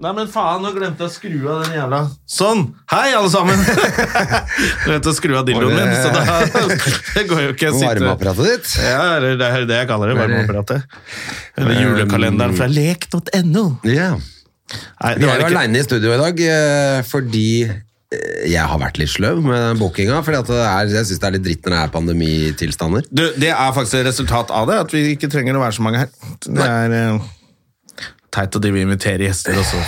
Nei, men faen, nå glemte jeg å skru av den jævla Sånn! Hei, alle sammen! glemte å skru av dildoen min, så da det går jo ikke å sitte Varmeapparatet ditt. ja, eller det er det jeg kaller det. Varmeapparatet. Eller julekalenderen fra lek.no. Um, Ja. Nei, Vi det er var jo det ikke. aleine i studio i dag eh, fordi eh, jeg har vært litt sløv med bookinga. For jeg syns det er litt dritt når det er pandemitilstander. Du, det er faktisk et resultat av det, at vi ikke trenger å være så mange her. Det er eh, teit at de vil invitere gjester, og så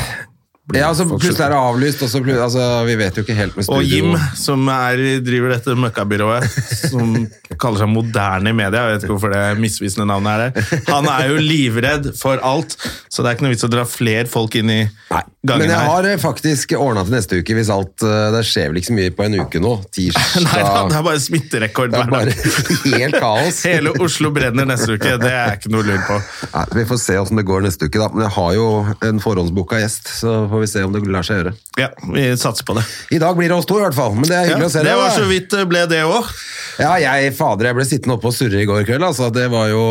blir Ja, altså, folk plutselig er det avlyst, og så plut- altså, vi vet jo ikke helt med studio. Og Jim, som er, driver dette møkkabyrået, som kaller seg moderne media, jeg vet ikke hvorfor det misvisende navnet er der, han er jo livredd for alt, så det er ikke noe vits å dra flere folk inn i Nei. Men gangen jeg her. har eh, faktisk ordna til neste uke, hvis alt eh, Det skjer vel ikke så mye på en uke nå. Tirsdag Nei, da, det er bare smitterekord altså- Det er hver dag. bare helt kaos. Hele Oslo brenner neste uke, det er ikke noe lur på. Nei, vi får se åssen det går neste uke, da. Men jeg har jo en forhåndsbooka gjest, så får vi se om det lar seg gjøre. Ja, vi satser på det. I dag blir det oss to, i hvert fall. Men det er Ja, hyggelig å se det var da. så vidt det ble det òg. Ja, jeg, fader, jeg ble sittende oppe og surre i går kveld, altså. Det var jo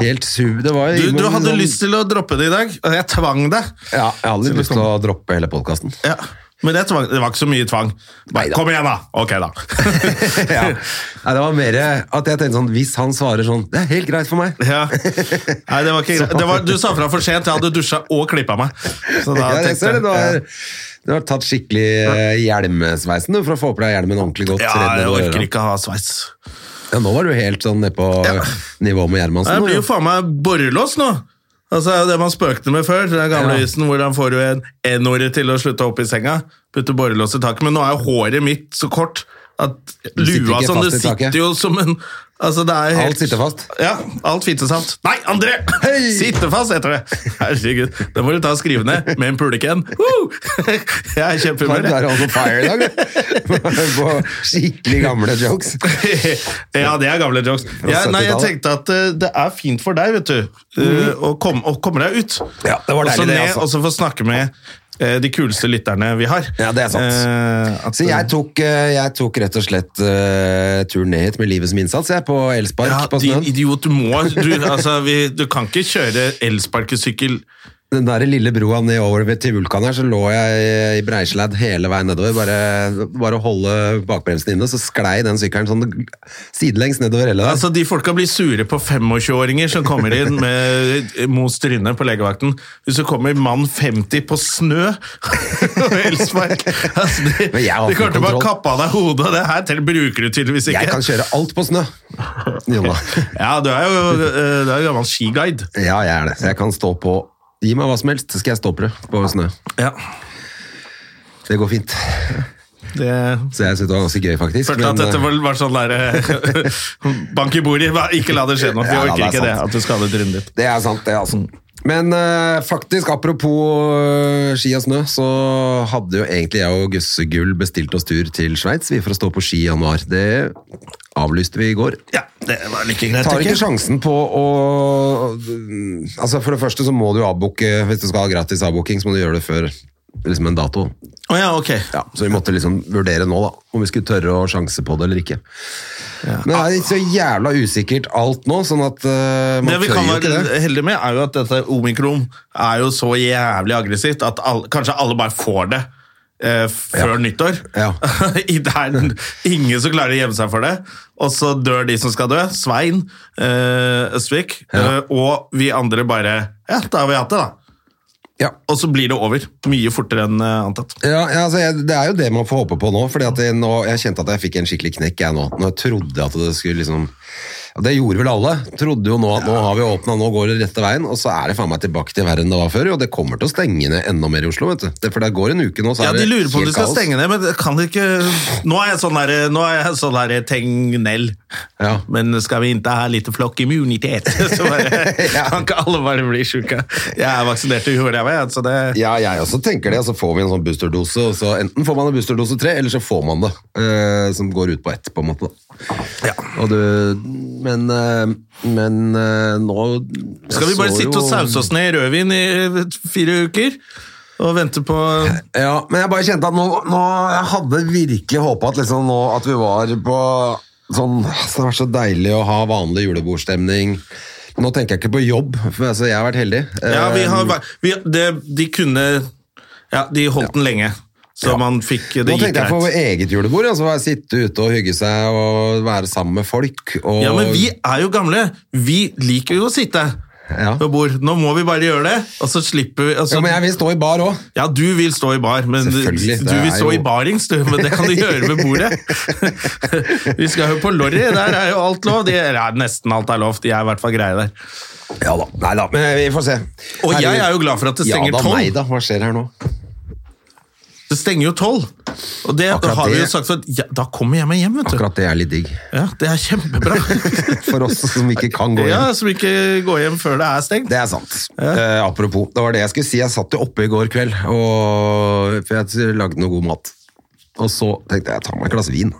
helt sub. Det var Du, jo- du hadde lyst til å droppe det i dag, og jeg tvang deg. Ja, jeg hadde litt lyst til å droppe hele podkasten. Ja. Men det, tvang, det var ikke så mye tvang. Bare, Neida. Kom igjen, da! Ok, da. ja. Nei, det var mer at jeg tenkte sånn, hvis han svarer sånn, det er helt greit for meg. Ja. Nei, det var ikke greit. Det var, du sa fra for sent. Jeg hadde dusja og klippa meg. Så da Ja, jeg tenkte ser det, du jeg har, du har tatt skikkelig eh, hjelmesveisen du, for å få på deg hjelmen ordentlig godt. ja, redd jeg over orker øra. ikke å ha sveis. Ja, nå var du helt sånn nede på nivå med Nei, Gjermansen. Det blir nå, jo faen meg borrelås nå! Altså, Det man spøkte med før, den gamle Ja. isen hvor han får jo en N-ordet til å slutte opp i senga. Putte borrelås i taket. Men nå er jo håret mitt så kort at sitter lua ikke som fast det i taket. sitter jo som en Altså, det er helt Alt sitter fast. Ja, alt fittesaft. Nei, André! Hei! Sitte fast heter det. Herregud. Det må du ta og skrive ned med en puleken. Woo! Jeg er i Du kjempehumør. er jeg. on altså, fire i dag, du. På skikkelig gamle jokes. ja, det er gamle jokes. Jeg, nei, jeg 70-tallet. tenkte at eh, det er fint for deg, vet du, eh, Mhm. å, kom, å komme deg ut. Ja, det var Også deilig det, ned, altså. Og så få snakke med eh, de kuleste lytterne vi har. Ja, det er sant. Eh, at, Så jeg tok, eh, jeg tok rett og slett eh, turen ned hit med livet som innsats, jeg, på elspark eh, ja, på din snøen. idiot, du må Du, altså, vi, du kan ikke kjøre elsparkesykkel Den der lille broa nedover ved- til vulkanen her, så lå jeg i breisledd hele veien nedover. Bare, bare holde bakbremsen inne, så sklei den sykkelen sånn sidelengs nedover hele der. Altså, De folka blir sure på 25-åringer som kommer inn med most rynne på legevakten. Hvis det kommer mann 50 på snø og elspark altså, De, Men jeg har de ikke kommer til å bare kontroll. kappe av deg hodet, og det her til bruker du tydeligvis ikke. jeg kan kjøre alt på snø, Jonna. Ja, du er jo eh, du er jo gammel skiguide. Ja, jeg er det. Så jeg kan stå på Gi meg hva som helst, så skal jeg stå på det på snø. Ja. Det går fint. Det Så jeg synes det var ganske gøy, faktisk. Følte at men, eh, dette var, var sånn der eh, Bank i bordet, hva- ikke la det skje nå. Ja, Vi da, orker det er ikke det. sant. At du skadet trynet ditt. Det er sant, det, altså. Men eh, faktisk, apropos eh, ski og snø, så hadde jo egentlig jeg og Gusse Gull bestilt oss tur til Sveits vi, for å stå på ski i januar. Det avlyste vi i går. Ja, det var like greit. Tar tenker ikke jeg. sjansen på å Altså, For det første så må du avbooke Hvis du skal ha gratis avbooking, så må du gjøre det før liksom en dato. Å ja, ok. Ja, Så vi måtte liksom vurdere nå, da, om vi skulle tørre å sjanse på det eller ikke. Men det er så jævla usikkert alt nå, sånn at eh, Det man vi tør kan jo ikke det. være heldige med, er jo at dette omikron er jo så jævlig aggressivt at alle, kanskje alle bare får det eh, før nyttår. Ja. I- det er n- ingen som klarer å gjemme seg for det. Og så dør de som skal dø. Svein eh, Østvik. Eh, og vi andre bare Ja, da har vi hatt det, da. Ja. Og så blir det over. Mye fortere enn eh, antatt. Ja, ja, altså jeg, Det er jo det man får håpe på nå. Fordi at jeg, nå, jeg kjente at jeg fikk en skikkelig knekk jeg nå. Når jeg trodde at det skulle liksom Ja, Det gjorde vel alle. Trodde jo nå at nå har vi åpna, nå går det rette veien. Og så er det faen meg tilbake til verre enn det var før. Og det kommer til å stenge ned enda mer i Oslo, vet du. Det, for det går en uke nå, så Ja, er De det lurer på om helt du skal kaos. stenge ned, men det kan de ikke Nå er jeg sånn der, nå er jeg sånn der tegnell. Ja. Men skal vi ikke ha litt flokkimmunitet? Så bare, Ja. kan ikke alle bare bli sjuke. Jeg er vaksinert i huet, jeg, vet, så det Ja, jeg også tenker det. og Så får vi en sånn boosterdose. og Så enten får man en boosterdose tre, eller så får man det. eh, som går ut på ett, på en måte. da. Og du, men eh, men eh, nå Skal vi jeg bare så sitte og jo- sause oss ned i rødvin i eh, fire uker? Og vente på Ja, men jeg bare kjente at nå, nå Jeg hadde virkelig håpet at, liksom nå, at vi var på sånn så Det var så deilig å ha vanlig julebordstemning. Nå tenker jeg ikke på jobb, for altså, jeg har vært heldig. Ja, vi har Eh, vært- vi, det, De kunne Ja, de holdt den lenge. Så man fikk Det nå gikk tenkte jeg på greit. eget julebord. Altså, bare sitte ute og hygge seg og være sammen med folk. Og, Ja, men vi er jo gamle. Vi liker jo å sitte. Ja. Ved bord. Nå må vi bare gjøre det, og så slipper vi altså, Ja, men jeg vil stå i bar òg. Ja, du vil stå i bar, men du du Selvfølgelig, det vil er stå jo- i barings, du, men det kan du gjøre ved bordet. Vi skal jo på Lorry, der er jo alt lov. Det er, nesten alt er lov, de er i hvert fall greie der. Ja da. Nei da, men vi får se. Og jeg Herregud. er jo glad for at det stenger Ja da, tolv. nei da. Hva skjer her nå? Det stenger jo tolv. Og det Akkurat har vi jo det. sagt, for at, ja, da kommer jeg meg hjem, vet du. Akkurat det er litt digg. Ja, det er kjempebra. For oss som ikke kan gå hjem. Ja, som ikke går hjem før det er stengt. Det er sant. Eh, apropos, det var det jeg skulle si. Jeg satt jo oppe i går kveld, og, for jeg lagde noe god mat. Og så tenkte jeg, jeg tar meg et glass vin.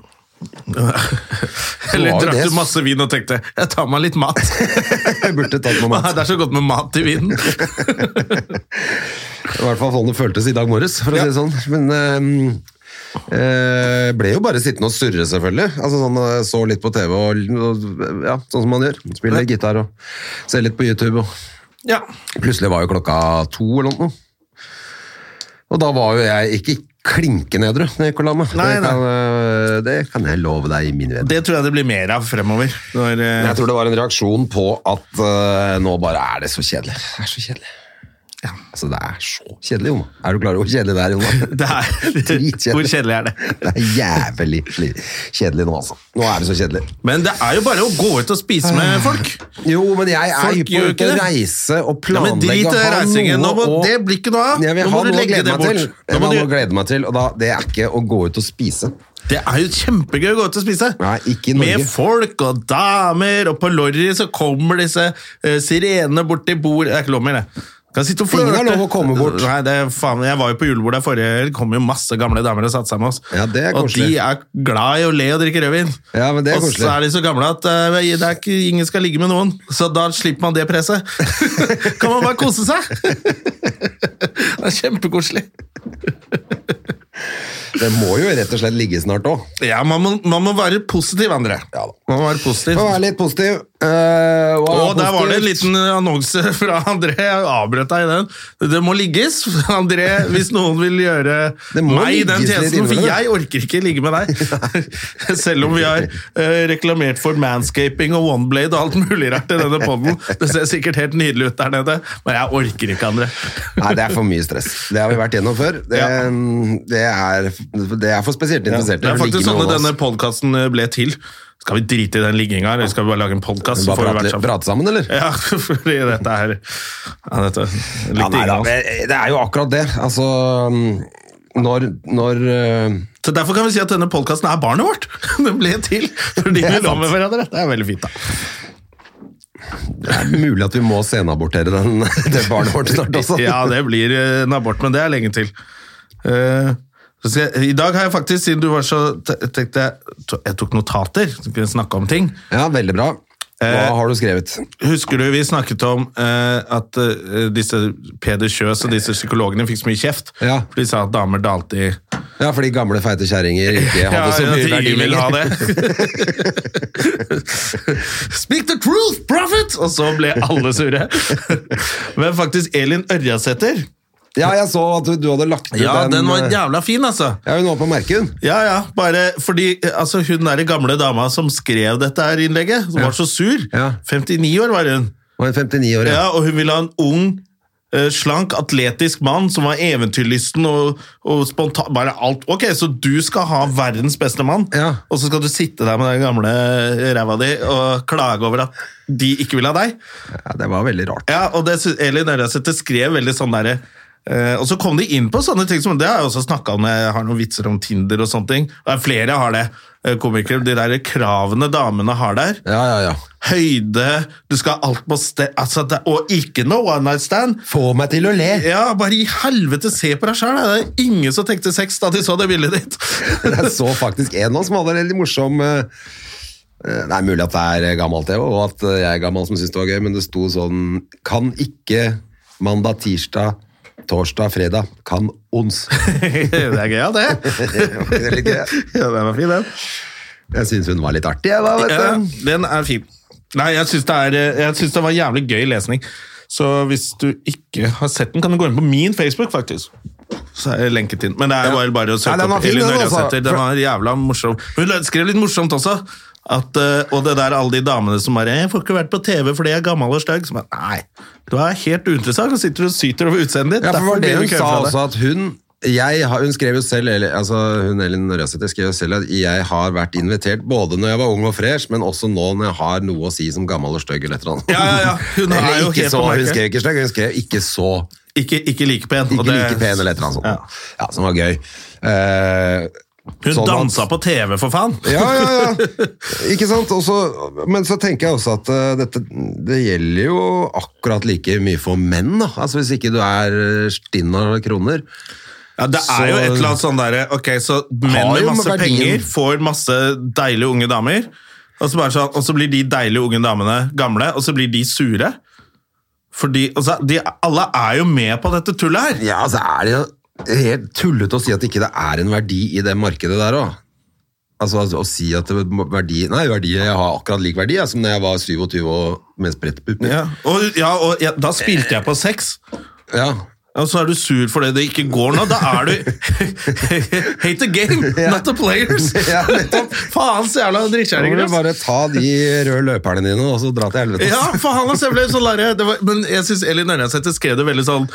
Eller var jo drakk det- du masse vin og tenkte, jeg tar meg litt mat. Jeg burde tatt meg mat. Det er så godt med mat i vinen. I hvert fall sånn det føltes i dag morges, for å Ja. si det sånn. Men eh, eh, ble jo bare sittende og surre, selvfølgelig. Altså sånn, eh, Så litt på TV, og, og ja, sånn som man gjør. Spiller Ja. gitar og ser litt på YouTube. Og. Ja. Plutselig var jo klokka to eller noe. Og da var jo jeg ikke klinke nedre når jeg gikk og la meg. Det, Nei, nei. kan, øh, det kan jeg love deg i min verden. Det tror jeg det blir mer av fremover. Når, eh, Men Jeg tror det var en reaksjon på at øh, nå bare er det så kjedelig. Det er så kjedelig. Altså, det er så kjedelig, Jona. Er du klar over hvor kjedelig det er, Jona? det er, Dritkjedelig. hvor kjedelig er det? Det er jævlig sli- kjedelig nå, altså. Nå er det så kjedelig. Men det er jo bare å gå ut og spise med folk. Jo, men jeg er Folk hypp på gjør å ikke det. reise og Ja, men planlegge. drit i ha reisingen. Nå må, noe å- det blir ikke noe av. Jeg vil Nå ha må du noe å legge glede det meg bort. til. Nå Jeg må vil ha noe å du, glede meg til, og da, det er ikke å gå ut og spise. det er jo kjempegøy å gå ut og spise. Nei, ikke i Norge. Med folk og damer, og på Lorry så kommer disse eh, sirenene bort til bord. Det er ikke lov mer, det. Kan sitte og Ingen har flørte. lov å komme bort. Nei, det er faen, jeg var jo på julebord der forrige helg. Det kom jo masse gamle damer og satte seg med oss. Ja, det er og de koselig. er glad i å le og drikke rødvin. Ja, men det er og koselig. så er de så gamle at eh, det er ikke, ingen skal ligge med noen. Så da slipper man det presset. kan man bare kose seg? det er kjempekoselig. Det må jo rett og slett ligge snart òg. Ja, man må, man må være positiv, André. Ja da. Man må være positiv. Vær litt positiv. Eh, og Og der var det en positiv. liten annonse fra André. Jeg avbrøt deg i den. Det må ligges, André, hvis noen vil gjøre Det må meg ligges den litt tjenesten. For innimellom. jeg orker ikke ligge med deg. Selv om vi har eh, reklamert for manscaping og oneblade og alt mulig rart i denne poden. Det ser sikkert helt nydelig ut der nede, men jeg orker ikke, André. Nei, det er for mye stress. Det har vi vært gjennom før. Det, um, Ja. det, er, det er for spesielt interesserte. Det å er ligge faktisk med sånn noen at av oss. denne podkasten ble til. Skal vi drite i den ligginga, eller skal vi bare lage en podkast? Bare prate, litt- prate sammen, eller? Ja, fordi dette er ja, dette likte Ja, nei, ingen da, av oss. men eh, det er jo akkurat det. Altså mm, Når, når eh, Så Derfor kan vi si at denne podkasten er barnet vårt! Den ble til fordi Det er vi lå sant. med hverandre. Det er veldig fint, da. Det er mulig at vi må senabortere den, det barnet vårt snart også. Ja, det blir eh, en abort, men det er lenge til. Eh, så skal jeg, I dag har jeg faktisk, siden du var så te- tenkte jeg, to- jeg tok notater, så kunne jeg snakke om ting. ja, veldig bra. Hva Eh, har du skrevet? Husker du vi snakket om eh, at eh, disse Peder Kjøs og disse psykologene fikk så mye kjeft? Ja. For de sa at damer dalte i Ja, fordi gamle feite kjerringer ikke hadde så at mye ingen verdi vil ha lenger. det. Speak the truth, prophet! Og så ble alle sure. Men faktisk Elin Ørjasæter Ja, jeg så at du, du hadde lagt ut eh, Ja, den var ja. jævla fin, altså. hun var på merken. Ja, ja, bare fordi altså, hun der gamle dama som skrev dette her innlegget, som var så sur Ja. 59 år var hun. Var en 59 år, ja. Ja, og hun ville ha en ung eh, slank, atletisk mann som var eventyrlysten og, og spontan Bare alt. Ok, så du skal ha verdens beste mann, Ja. og så skal du sitte der med den gamle ræva di og klage over at de ikke vil ha deg? Ja, det var veldig rart. Ja, og det, sy- Elin Ørjasæter skrev veldig sånn derre eh, og så kom de inn på sånne ting som Det har jeg også snakka om, jeg har noen vitser om Tinder og sånne ting. Det er flere har det, eh, komikere. De der kravene damene har der. Ja, ja, ja. Høyde, du skal ha alt på sted altså, det, Og ikke noe one night stand. Få meg til å le! Ja, bare i helvete, se på deg sjøl! Det er ingen som tenkte sex da de så det bildet ditt. Jeg så faktisk en av dem som hadde en veldig morsom eh, eh, Det er mulig at det er gammelt, det, og at eh, jeg er gammel som syns det var gøy, men det sto sånn Kan ikke mandag, tirsdag, torsdag, fredag. Kan ons. det er gøy, ja, det. Det var litt gøy. Ja, den var fin, den. Jeg syns hun var litt artig, jeg da. vet Ja, du. den er fin. Nei, jeg syns det, er, eh, jeg synes det var jævlig gøy lesning. Så hvis du ikke har sett den, kan du gå inn på min Facebook, faktisk. Så er jeg lenket inn. Men det er jo bare- bare å Nei, søke den var opp fin, Elin den, altså. Ørjasæter. Den var jævla morsom. Hun lø- skrev litt morsomt også. At, eh, og det der alle de damene som bare «Jeg får ikke vært på TV fordi jeg er gammel og stygg. Som er, Nei, du er helt uinteressant og sitter og syter over utseendet ditt. Ja, for det Derfor var det blir du hun ikke sa hørt fra deg. også, at hun jeg har, hun skrev jo selv, eller, altså hun Elin Røsete skrev jo selv at jeg har vært invitert både når jeg var ung og fresh, men også nå når jeg har noe å si som gammel og stygg eller et eller annet. Ja, ja, ja. Hun er eller jo ikke helt så, på merket. hun skrev ikke stygg, hun skrev ikke så, Ikke, ikke like pen. ikke og det- like pen eller et eller annet sånt. Ja. Ja, som var gøy. Eh, Hun sånn at- dansa på TV, for faen! ja, ja, ja. Ikke sant? Og så- men så tenker jeg også at eh, dette, det gjelder jo akkurat like mye for menn. Da. Altså Hvis ikke du er eh, stinn av kroner. Ja, det er Så- jo et eller annet sånn derre Ok, så menn Har med jo masse verdien. penger får masse deilige unge damer, og så, bare sånn, og så blir de deilige unge damene gamle, og så blir de sure. Fordi altså, de, Alle er jo med på dette tullet her! Ja, så Altså, er det jo helt tullete å si at ikke det er en verdi i det markedet der òg. Altså, altså, å si at det må- verdi Nei, verdi, jeg har akkurat lik verdi jeg, som da jeg var 27 og med sprettpupper. Ja, og, ja, og ja, da spilte jeg på sex. Ja. Og så er du sur fordi det ikke går nå. Da er du Hate the game, not the players! Ja, nettopp. Faen så jævla Da må drittkjerringer! du ass. bare ta de røde løperne dine og så dra til helvete. Ja, for han også ble sånn der, det var, Men jeg synes Elin Ørjasæter skrev det veldig sånn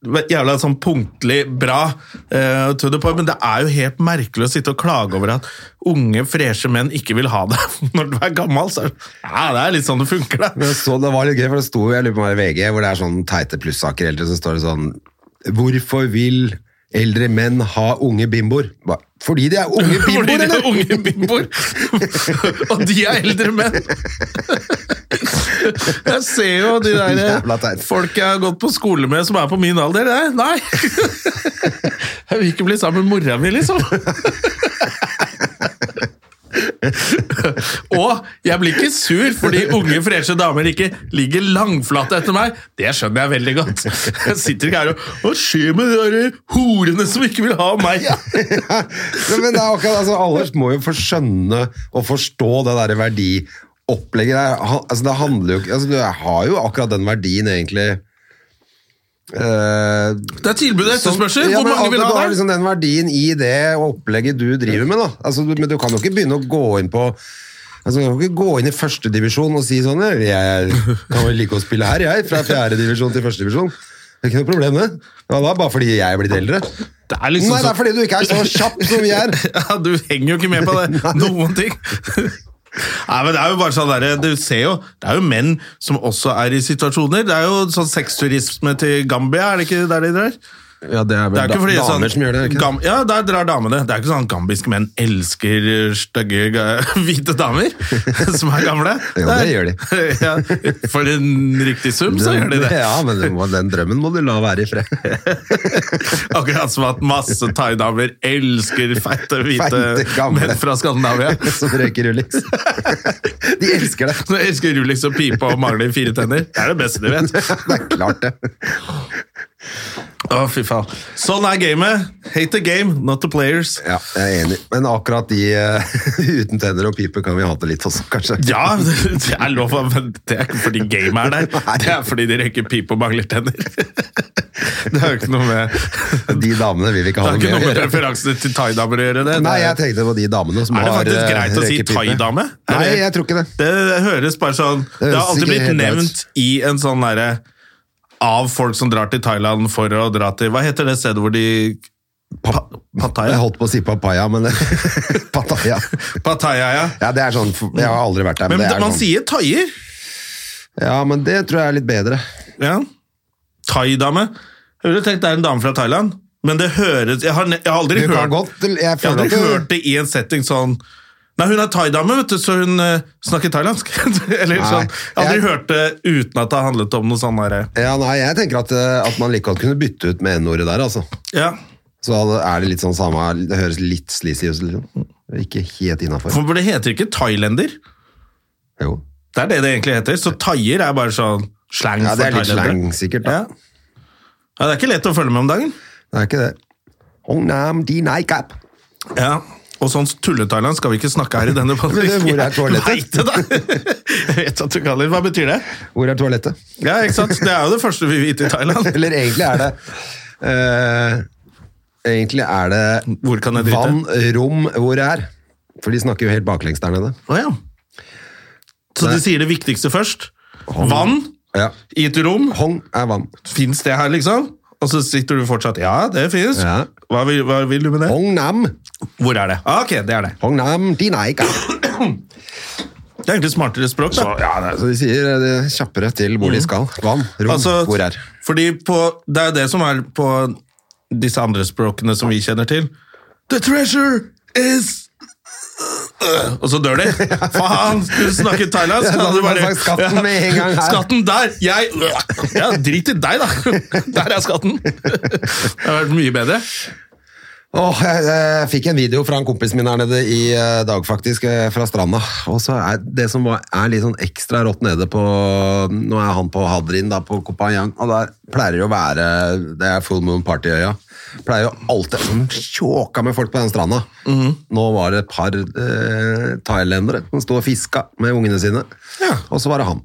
Jævla sånn punktlig bra, eh, to the point, men det er jo helt merkelig å sitte og klage over at unge, freshe menn ikke vil ha deg når du er gammel. Så, er det- ja, det er litt sånn det funker, da. Men jeg så, det var litt gøy, for det sto jeg lurer på om det var i VG, hvor det er sånn teite plussaker eldre, så står det sånn Hvorfor vil eldre menn ha unge bimboer? Ba- Fordi de er unge Fordi bimboer, de er eller? unge bimboer, og de er eldre menn. Jeg ser jo de Jævla der teit. folk jeg har gått på skole med som er på min alder. Nei, nei. Jeg vil ikke bli sammen med mora mi, liksom. Og jeg blir ikke sur fordi unge, freshe damer ikke ligger langflate etter meg. Det skjønner jeg veldig godt. Jeg sitter ikke her og Hva skjer med de der horene som ikke vil ha meg? Ja, Men det er akkurat, altså, alle må jo få skjønne og forstå det der verdiopplegget der. Han- Altså, det handler jo ikke altså, Du har jo akkurat den verdien, egentlig. Eh, Det er tilbud og etterspørsel. Sånn- ja, Hvor men mange vil altså, ha du har det? Liksom den verdien i det opplegget du driver med, da. Altså, du, men du kan jo ikke begynne å gå inn på Altså, du kan ikke gå inn i førstedivisjon og si sånn «Jeg- Jeg kan vel like å spille her, jeg. Fra fjerdedivisjon til førstedivisjon. Det er ikke noe problem, det. Det var da bare fordi jeg er blitt eldre. Det er liksom Nei, det er så- fordi du ikke er så kjapp som vi er. liksom- ja, du henger jo ikke med på det. Noen ting. Nei, men Det er jo bare sånn der, du ser jo, det er jo menn som også er i situasjoner. Det er jo sånn sexturisme til Gambia, er det ikke der de drar? Ja, det er vel Det er da- ikke fordi damer sånn, som gjør det. er det Ikke? Gam, ja, der drar damene. Det er ikke sånn at gambiske menn elsker eh, stygge ga- hvite damer som er gamle. Jo, det gjør de. ja, for en riktig sum, så gjør de det. Ja, men du må- den drømmen må du la være i fred. Akkurat som at masse thaidamer elsker feite, hvite Feite, gamle. menn fra Skandinavia. Som røyker Ulix. De elsker det. Som elsker Rolex og pipe og mangler fire tenner. Det er det beste de vet. Det er klart, det. Å, fy faen. Sånn er gamet. Hate the game, not the players. Ja, jeg er enig. Men akkurat de eh, uten tenner og pipe kan vi hate litt også, kanskje. Ja, det er lov, men det er ikke fordi gamet er der. Det er fordi de røyker pipe og mangler tenner. Det har jo ikke noe med De damene vil vi ikke det ha har noe med ikke å noe med gjøre. referansene til thaidamer å gjøre. det. Nei, jeg tenkte på de damene som Er har det faktisk eh, greit å si røykepipe. thai-dame? Er Nei, det- jeg tror ikke det. Det høres bare sånn Det, høres har alltid ikke blitt helt nevnt i en sånn derre av folk som drar til Thailand for å dra til Hva heter det stedet hvor de pa, Pattaya? Jeg holdt på å si papaya, men Pattaya. Pattaya, ja. Ja, det er sånn, Jeg har aldri vært der. Men Men, det er man sånn. sier thaier. Ja, men det tror jeg er litt bedre. Ja. Thai-dame. Jeg ville tenkt det er en dame fra Thailand, men det høres Jeg har, ne- jeg har aldri Du hørt kan godt Jeg Jeg føler hadde at ikke du- hørt det i en setting sånn Nei, hun er thaidame, vet du, så hun eh, snakker thailandsk. Eller Nei, sånn. Jeg har aldri jeg- hørt det uten at det har handlet om noe sånn derre Ja, nei, jeg tenker at, eh, at man like godt kunne bytte ut med n-ordet der, altså. Ja. Så hadde- er det litt sånn samme Det høres litt sleazy ut, liksom. Ikke helt innafor. For det heter ikke thailender. Jo. Det er det det egentlig heter. Så thaier er bare sånn slang Ja, det er for litt slang, thailendere. sikkert. Ja. Da. ja, det er ikke lett å følge med om dagen. Det er ikke det. Ong nam di nai kap. Ja. Og sånn tulletailand skal vi ikke snakke her i denne podcasten. Hvor er toalettet? Jeg vet det da. Jeg vet at du kaller det. Hva betyr det? Hvor er toalettet? Ja, ikke sant? Det er jo det første vi vet i Thailand. Eller egentlig er det eh, Egentlig er det Hvor kan jeg drite? vann, rom, hvor det er. For de snakker jo helt baklengs der nede. Å ja. Så Nei. du sier det viktigste først? Vann Ja. i et rom. Hong er vann. Fins det her, liksom? Og så sitter du fortsatt Ja, det fins. Ja. Hva, vil- hva vil du med det? Hong nam. Hvor er det? Ah, ok, det er det. Hong nam di nai kap. Det er egentlig smartere språk, da. Så de sier eh, det kjappere til hvor de skal. Vann, rom, Altså, hvor er. Fordi på, det er jo det som er på disse andre språkene som vi kjenner til. The treasure is øh, Og så dør de. Faen, skulle du snakket thailandsk? Ja, da hadde hadde du du bare sagt skatten med en gang her. Skatten der! Jeg øh, Ja, drit i deg, da! Der er skatten! Det har vært mye bedre. Åh, jeg, eh, fikk en video fra en kompis min her nede i eh, dag, faktisk, eh, fra stranda. Og så er det som var, er litt sånn ekstra rått nede på Nå er han på Hadrin, da, på Kopanjang, og der pleier det å være Det er full moon partyøya. Pleier jo alltid sånn tjåka med folk på den stranda. Nå var det et par eh, thailendere som sto og fiska med ungene sine, Ja. og så var det han.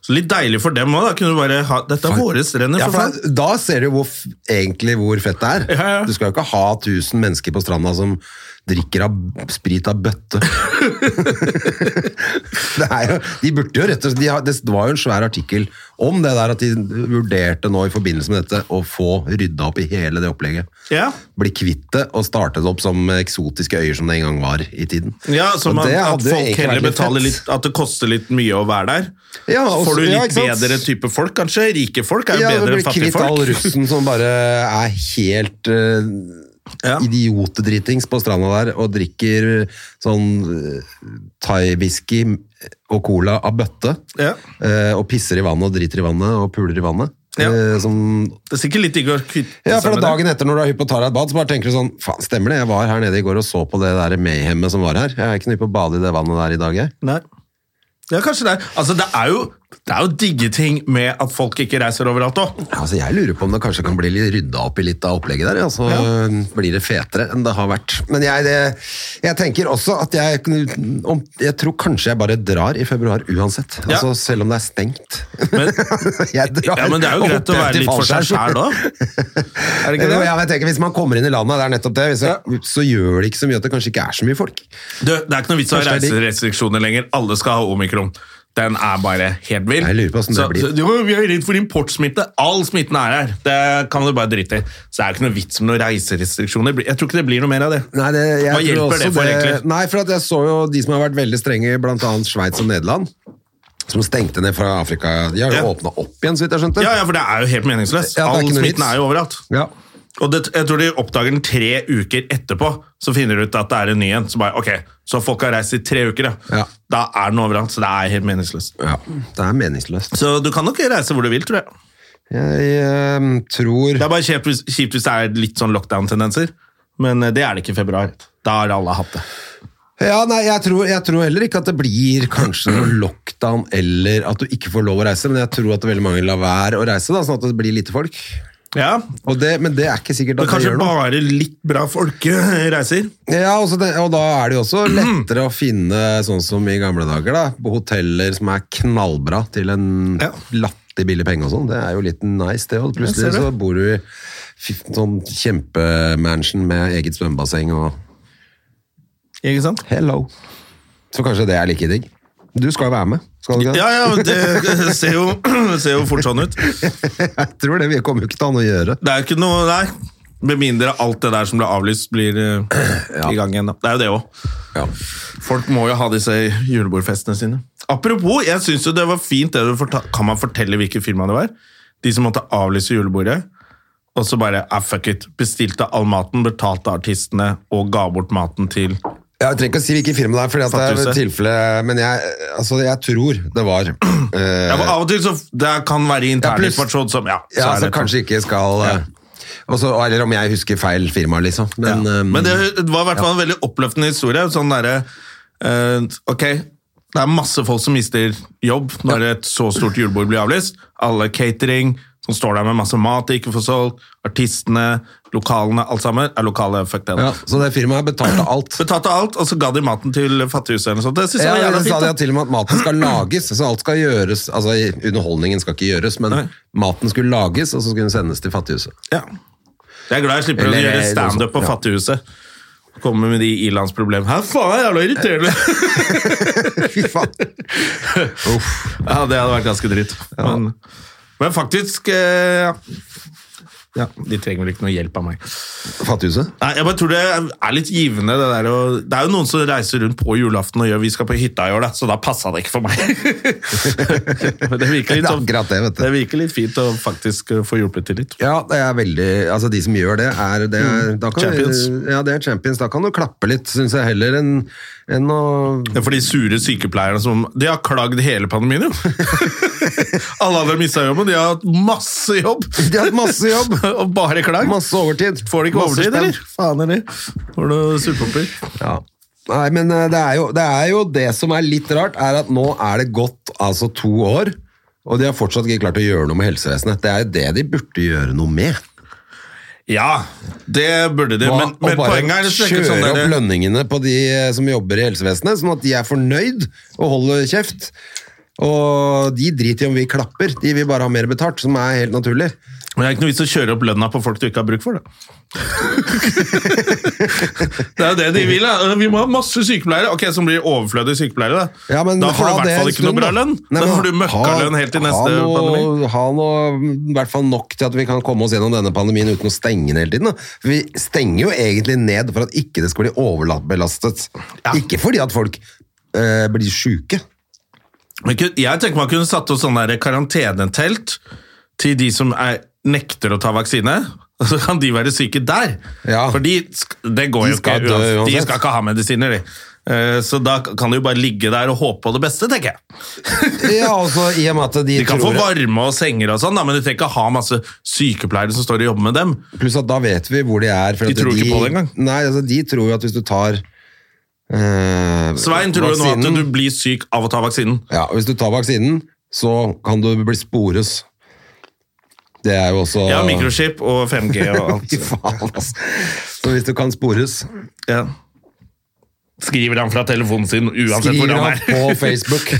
Så litt deilig for dem òg, da. Kunne du bare ha Dette er våre strender, Ja, for faen. for da ser du jo hvor, f- egentlig hvor fett det er. Ja, ja. Du skal jo ikke ha tusen mennesker på stranda som drikker av b- sprit av bøtte. det er jo, de burde jo rett og slett, de har, det var jo en svær artikkel om det der at de vurderte nå i forbindelse med dette å få rydda opp i hele det opplegget. Ja. Bli kvitt det og starte det opp som eksotiske øyer som det en gang var i tiden. Ja, så Og man, det at hadde jo egentlig folk heller vært litt fett. betaler litt At det koster litt mye å være der. Ja, Så og Får så- du ja, litt ikke sant? bedre type folk, kanskje? Rike folk er jo Ja, det bedre blir enn fattige kvitt all folk. russen som bare er helt eh, Ja. idiotedritings på stranda der og drikker sånn uh, thai-whisky og cola av bøtte. Ja. eh, og pisser i vannet og driter i vannet og puler i vannet. Ja. Eh, som, Det er sikkert litt digg å kvitte ja, for da seg med det. dagen etter når du er hypp og tar deg et bad, så bare tenker du sånn Faen, stemmer det? Jeg var her nede i går og så på det der mayhemmet som var her. Jeg er ikke noe på å bade i det vannet der i dag, jeg. Nei. Ja, kanskje det. er- Altså, det er jo det er jo digge ting med at folk ikke reiser overalt òg. Altså, jeg lurer på om det kanskje kan bli litt rydda opp i litt av opplegget der, ja, så eh, Ja. blir det fetere enn det har vært. Men jeg, det, jeg tenker også at jeg, kunne- om, jeg tror kanskje jeg bare drar i februar uansett. Ja. Altså, selv om det er stengt. Men, jeg drar ja, men det er jo og greit å hopper være til litt for seg fallskjerm. sjæl òg. Er det ikke Ja, det? men jeg tenker, hvis man kommer inn i landet, det er nettopp det, hvis jeg, så gjør det ikke så mye at det kanskje ikke er så mye folk. Du, det er ikke noe vits i å ha Kanskje det er digg. reiserestriksjoner lenger. Alle skal ha omikron. Den er bare helt vill. Jeg lurer på hvordan det så, blir. Så, jo, vi er redd for importsmitte. All smitten er her. Det kan du bare drite i. Så det er ikke noe vits med noen reiserestriksjoner. Jeg tror ikke det blir noe mer av det. Nei, det, jeg Hva tror hjelper også det for egentlig? Nei, for at jeg så jo de som har vært veldig strenge, blant annet Schweiz og Nederland, som stengte ned fra Afrika. De har jo Ja. åpnet opp igjen, så vidt jeg skjønte. Ja, ja, for det er jo helt Ja, meningsløst. det er All ikke noe smitten vits. er jo overalt. Ja. Og det, jeg tror de oppdager den tre uker etterpå, så finner de ut at det er en ny en. Så bare, ok, så folk har reist i tre uker, Ja. Da er den overalt, så det er helt meningsløst. Ja, det er meningsløst. Så du kan nok reise hvor du vil, tror jeg. Jeg ehm, tror Det er bare kjipt hvis, kjipt hvis det er litt sånn lockdown-tendenser, men eh, det er det ikke i februar. Da har alle hatt det. Ja, nei, jeg tror, jeg tror heller ikke at det blir kanskje noe lockdown eller at du ikke får lov å reise, men jeg tror at veldig mange lar være å reise, da, sånn at det blir lite folk. Ja, Og det, men det er ikke sikkert men at det kanskje gjør noe. bare litt bra folk eh, reiser. Ja, og, så det, og da er det jo også lettere å finne, sånn som i gamle dager, da, på hoteller som er knallbra til en Ja. latterlig billig penge og sånn. Det er jo litt nice, det. Og Jeg plutselig ser det. så bor du i f- sånn kjempemansion med eget svømmebasseng og Ikke sant? Hello. Så kanskje det er like digg. Du skal jo være med, skal du ikke det? Ja, ja, men det ser jo, ser jo fort sånn ut. Det Jeg tror det vi kommer jo ikke til å ha noe å gjøre. er jo ikke noe Nei. Med mindre alt det der som ble avlyst, blir eh, i gang igjen. da. Det er jo det òg. Folk må jo ha disse julebordfestene sine. Apropos, jeg syns jo det var fint det du forta Kan man fortelle hvilket firma det var? De som måtte avlyse julebordet. Og så bare ah, fuck it. Bestilte all maten, betalte artistene og ga bort maten til Ja, Jeg trenger ikke å si hvilken firma det er, fordi at det er Fattighuset. et tilfelle, men jeg, altså, jeg tror det var eh, ja, for Av og til så det kan Ja, være pluss- interninformasjon som Ja, så Ja, er altså det kanskje ikke skal eh, og så- Eller om jeg husker feil firma, liksom. Men, ja. eh, men det var i hvert fall en veldig oppløftende historie. Sånn derre eh, Ok, det er masse folk som mister jobb når et så stort julebord blir avlyst. Alle catering som står der med masse mat de ikke får solgt. Artistene, lokalene, alt sammen. Er lokale, fuck det. ja, da. så det firmaet betalte alt. Betalte alt, og så ga de maten til fattighuset eller noe sånt. Det synes jeg Ja, var jævla sa de fint. at til og med at maten skal lages, så alt skal gjøres Altså, i- underholdningen skal ikke gjøres, men Nei. maten skulle lages, og så skulle den sendes til fattighuset. da. Ja. Jeg er glad jeg slipper Eller- eh, å gjøre standup på ja. fattighuset. Komme med de ilandsproblemene. Hæ, faen, det er jævla irriterende! Fy faen. Ja, det hadde vært ganske dritt. Men, men faktisk eh, ja. ja, De trenger vel ikke noe hjelp av meg. Fattighuset? Nei, jeg bare tror Det er litt givende. Det der, å- det er jo noen som reiser rundt på julaften og gjør 'vi skal på hytta i år', da, så da passa det ikke for meg. men det Det virker, litt er sånn- akkurat det, vet du. det virker litt fint å faktisk eh, få hjulpet til litt. Ja, det er veldig Altså, de som gjør det, er, det er da kan, Mm. Champions. Ja, det er champions. Da kan du klappe litt, syns jeg, heller enn enn å Det er For de sure sykepleierne som De har klagd hele pandemien, jo! Alle andre har mista jobben, de har hatt masse jobb! De har hatt masse jobb! og bare klagd. Masse overtid. Får de ikke Masse overtid, spenn. eller? Faen eller? Får du surpomper? Ja. Nei, men eh, det er, jo, det er jo det som er litt rart, er at nå er det gått altså to år, og de har fortsatt ikke klart å gjøre noe med helsevesenet. Det er jo det de burde gjøre noe med. Ja, det burde de, Hva- men, og men poenget er det kjøre ikke sånn opp der, lønningene på de eh, som jobber i helsevesenet, sånn at de er fornøyd og holder kjeft. Og de driter i om vi klapper, de vil bare ha mer betalt, som er helt naturlig. Men det er ikke noe vits å kjøre opp lønna på folk du ikke har bruk for, da. det er jo det de vil, da. Vi må ha masse sykepleiere. Ok, Som blir overflødige sykepleiere, da. Ja, men da får du ha i det hvert fall en ikke noe stund, bra da. lønn. Nei, da men får du møkkalønn helt til neste ha noe, pandemi. Ha noe, i hvert fall nok til at vi kan komme oss gjennom denne pandemien uten å stenge den hele tiden. Da. For Vi stenger jo egentlig ned for at ikke det skal bli overbelastet. Ikke fordi at folk eh, blir syke. Men kun- Jeg tenker man kunne satt opp sånne der karantenetelt til de som er, nekter å ta vaksine. og Så kan de være syke der. Ja. For de, sk- det går De jo ikke. skal dø uansett. De uansett. skal ikke ha medisiner, de. Eh, Så da kan de jo bare ligge der og håpe på det beste, tenker jeg. Ja, altså i og med at de, De kan få tror... varme og senger og sånn, da, men du trenger ikke ha masse sykepleiere som står og jobber med dem. Pluss at da vet vi hvor de er. for De at tror ikke på det engang. Nei, altså, de tror jo at hvis du tar eh, Svein tror jo nå at vaksinen- du blir syk av å ta vaksinen. Ja, og hvis du tar vaksinen, så kan du bli spores. Det er jo også Ja, mikrochip og 5G og alt. Fy faen, altså. Så hvis du kan spores, Ja. Skriver han fra telefonen sin uansett hvor skriv han ham er. på Facebook.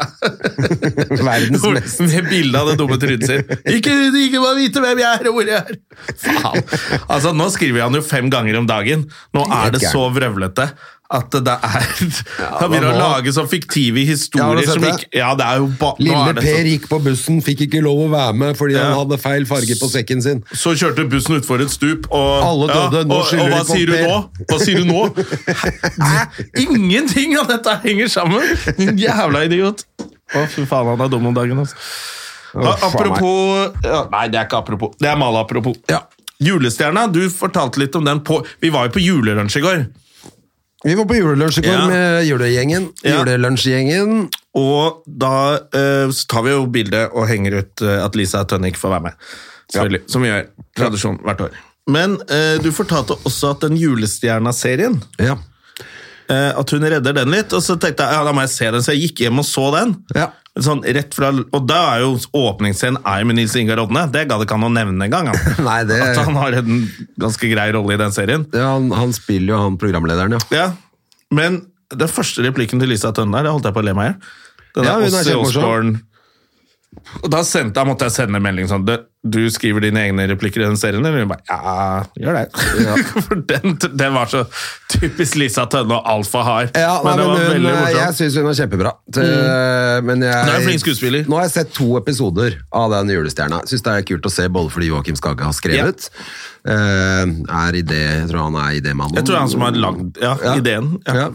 Verdens mest Med bilde av det dumme trynet sitt. Ikke, ikke bare vite hvem jeg er og hvor jeg er! Faen. Altså, nå skriver han jo fem ganger om dagen. Nå er det så vrøvlete at det er Han begynner å nå- lage sånn Ja, fiktive har historier du sett som det? ikke Ja, det er jo ba, nå Lille er det sånn. Per gikk på bussen, fikk ikke lov å være med fordi Ja. han hadde feil farge på sekken sin. så, så kjørte bussen utfor et stup, og Alle døde, nå og, skylder og hva de på sier du Per. nå? Hva sier du nå? Hæ? Ingenting av dette henger sammen! Din jævla idiot. Å, fy faen, han er dum om dagen, altså. Å, Ja, faen apropos ja, Nei, det er ikke apropos. Det er mal-apropos. Ja. Julestjerna, du fortalte litt om den på Vi var jo på julelunsj i går, Vi var på julelunsj i går Ja. med julegjengen. Ja. Julelunsjgjengen. og da eh, så tar vi jo bilde og henger ut eh, at Lisa Tønning får være med. Selvfølgelig. Som vi gjør. Tradisjon hvert år. Men eh, du fortalte også at den julestjerna-serien Ja. eh, At hun redder den litt, og så tenkte jeg ja, da må jeg se den. Så jeg gikk hjem og så den. Ja. Sånn, rett fra, og da er jo åpningsscenen er jo med Nils Ingar Odne. Det gadd ikke han å nevne engang. han. Nei, det- At han har en ganske grei rolle i den serien. Ja, han, han spiller jo han programlederen, ja. Ja, Men den første replikken til Lisa Tønne der, det holdt jeg på å le meg i hjel. Den Ja, der hun er Ozzy kjempemorsom. Osbourne. Og da sendte, da måtte jeg sende en melding sånn «Du, du skriver dine egne replikker i den serien, eller hun bare ja, gjør det. For den, den var så typisk Lisa Tønne og altfor hard. Ja, nei, men men eh, det var hun, eh, veldig jeg morsomt. syns hun er kjempebra. Til- Men jeg, Hun er en flink skuespiller. Nå har jeg sett to episoder av den julestjerna. Syns det er kult å se, både fordi Joakim Skagge har skrevet eh, Er i det, Jeg tror han er idémannen. Jeg tror det er han som har lagd ja, ideen. Ja. Ja.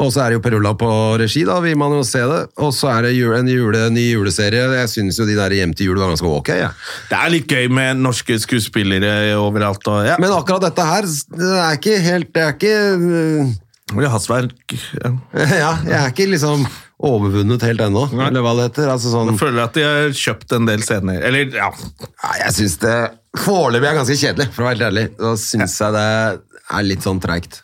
Og så er det jo Perulla på regi, da vil man jo se det. Og så er det jule, en jule, ny juleserie. Jeg syns jo de der Hjem til jul var ganske ok. Ja. Det er litt gøy med norske skuespillere overalt. Og, ja. Men akkurat dette her, det er ikke helt Det er ikke eh, Ole Hasverk ja. Ja, jeg er ikke liksom overvunnet helt ennå, Nei. eller hva det heter. Altså sånn Jeg føler at de har kjøpt en del scener. Eller, ja. Nei, jeg syns det foreløpig er ganske kjedelig, for å være helt ærlig. Da syns jeg det er litt sånn treigt.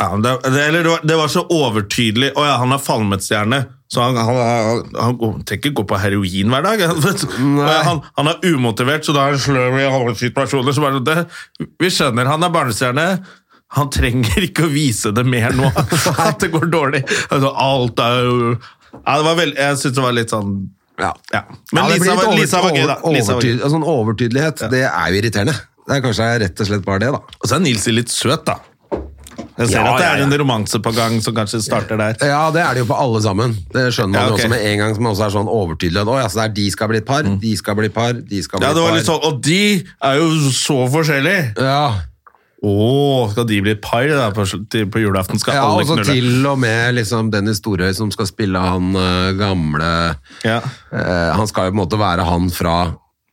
ja men det, det, eller, det var- det var så overtydelig. Å ja, han har falmetstjerne. Så han, han, han, han går- trenger ikke gå på heroin hver dag. Han, vet. Og ja, han, han er umotivert, så da er han sløv i alle situasjoner. Så bare, det, vi skjønner, han er barnestjerne. Han trenger ikke å vise det mer nå, at det går dårlig. Altså, alt er jo ja, det var veld, Jeg syns det var litt sånn Ja. ja. Men det blir Lisa, litt var, over- Lisa var gøy, da. over- Lisa var gøy. overtyd- Sånn overtydelighet, det er jo irriterende. Det er kanskje rett og slett bare det, da. Og så er Nilsi litt søt, da. Jeg ser Ja, at det ja, er ja. en romanse på gang som kanskje starter der. Ja, det er det jo på alle sammen. Det skjønner man Ja, jo ok. Mm. også med en gang, som også er sånn overtydelig. At, å, ja, så det er de skal bli et par, de skal bli et par, de skal bli Ja, et det var par. litt sånn, Og de er jo så forskjellige! Ja, Å, skal de bli et par da, på, sl- til, på julaften? Skal ja alle og så knulle? til og med liksom Dennis Storøy som skal spille han eh, gamle Ja. Eh, han skal jo på en måte være han fra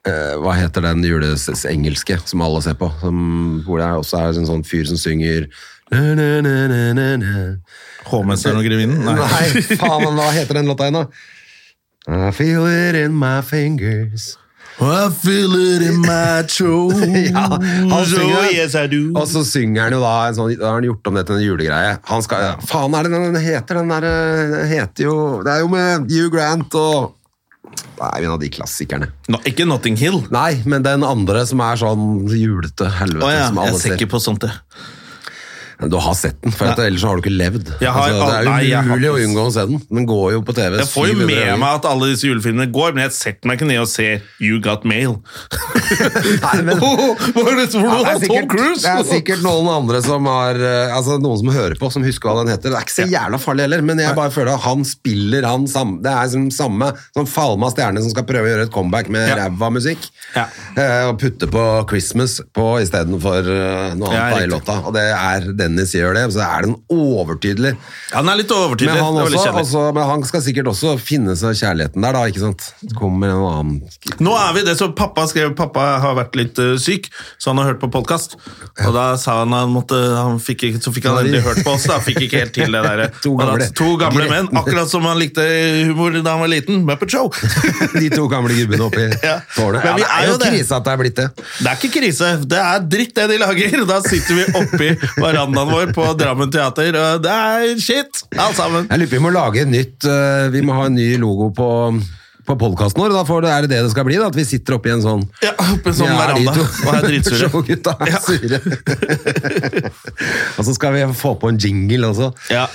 eh, hva heter den jules engelske som alle ser på? Som, hvor det er også er en sånn fyr som synger na, na, na, na, na, na. Hovmesteren og grevinnen? Nei. faen, men hva heter den låta igjen, da? I feel it in my fingers I feel it in my throat. Ja, han synger oh, den. yes, I do. Og så synger han jo da en sånn, Da har han gjort om det til en julegreie. Han skal, Faen, er det den den heter? Den der eh, den heter jo Det er jo med Hugh Grant og Det er jo en av de klassikerne. Nå, ikke Notting Hill. Nei, men den andre som er sånn julete helvete Å ja, som jeg alle ser ser. ikke på sånt, jeg. Men Du har sett den, for at ellers har du ikke levd. Jeg har altså, det er al- jo nei, jeg har umulig å ikke- unngå å se den. Den går jo på TV. Jeg får jo 700 med ganger. meg at alle disse julefilmene går, men jeg setter meg ikke ned og ser You Got Mail. Nei, men- Hva er det Ja, for noe? det, er Tom sikkert, Cruise? det er sikkert noen andre som har eh, Altså noen som hører på, som husker hva den heter. Det er ikke så jævla farlig heller, men jeg bare føler at han spiller han samme Det er som samme sånn falma stjerne som skal prøve å gjøre et comeback med Ja. ræva musikk. Ja. Eh, og putte på 'Christmas' på istedenfor uh, noe Ja, annet da i riktig. låta. Og det er Dennis gjør det, så er den overtydelig. Han er litt overtydelig. Men han, det var litt også, kjedelig. altså, men han skal sikkert også finne seg kjærligheten der, da. ikke sant? Kommer en annen Nå er vi det som pappa skrev. Pappa har vært litt eh, syk, så han har hørt på podkast. Og da sa han han måtte han fikk ikke, Så fikk han endelig hørt på oss, da. Fikk ikke helt til det derre. To Og da- gamle- to gamle menn. Akkurat som han likte humor da han var liten. Muppet Show. De to gamle gubbene oppi Ja. tårnet. Men Ja, vi det er er jo jo det. krise at det er blitt det. Det er ikke krise. Det er dritt, det de lager. Da sitter vi oppi verandaen vår på Drammen Teater, og det er shit, alt sammen. Jeg lurer på, vi må lage et nytt eh, Vi må ha en ny logo på, på podkasten vår. Da får det, er det det det skal bli, da, at vi sitter oppi en sånn Ja, oppe i en sånn Ja, de veranda to og er dritsure. Showgutta er Ja. sure. og så skal vi få på en jingle også, Ja.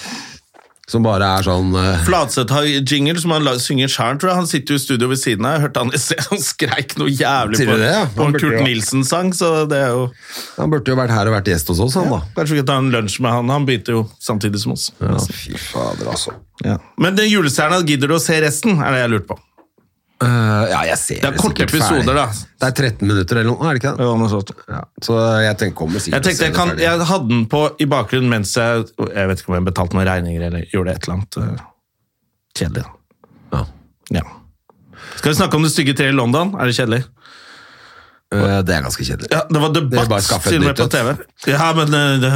som bare er sånn eh, Fladseth har jingle som han la- synger sjøl, tror jeg. Han sitter jo i studio ved siden av. Jeg hørte han, jeg, han skreik noe jævlig Sier på, du det, ja? på Han en burde Kurt jo- Nilsen-sang, så det er jo Han burde jo vært her og vært gjest hos oss, han da. Kanskje vi kan ta en lunsj med han. Han begynte jo samtidig som oss. Ja, fy fader, altså. Ja. Men den julestjerna, gidder du å se resten? Er det jeg lurte på. Eh, ja, jeg ser Det er korte sikkert ferdig. episoder, da. Det er 13 minutter eller noe, er det ikke det? Ja. Så jeg tenker, kommer sikkert Jeg tenkte jeg, kan, jeg, jeg hadde den på i bakgrunnen mens jeg Jeg vet ikke om jeg betalte noen regninger eller gjorde et eller annet eh, kjedelig. da. ja. Ja. Skal vi snakke om Det stygge treet i London? Er det kjedelig? Eh, Det er ganske kjedelig. Ja, Det var Det er bare å debatt skaffe et til og med nytt på et. TV. Ja, men det, det,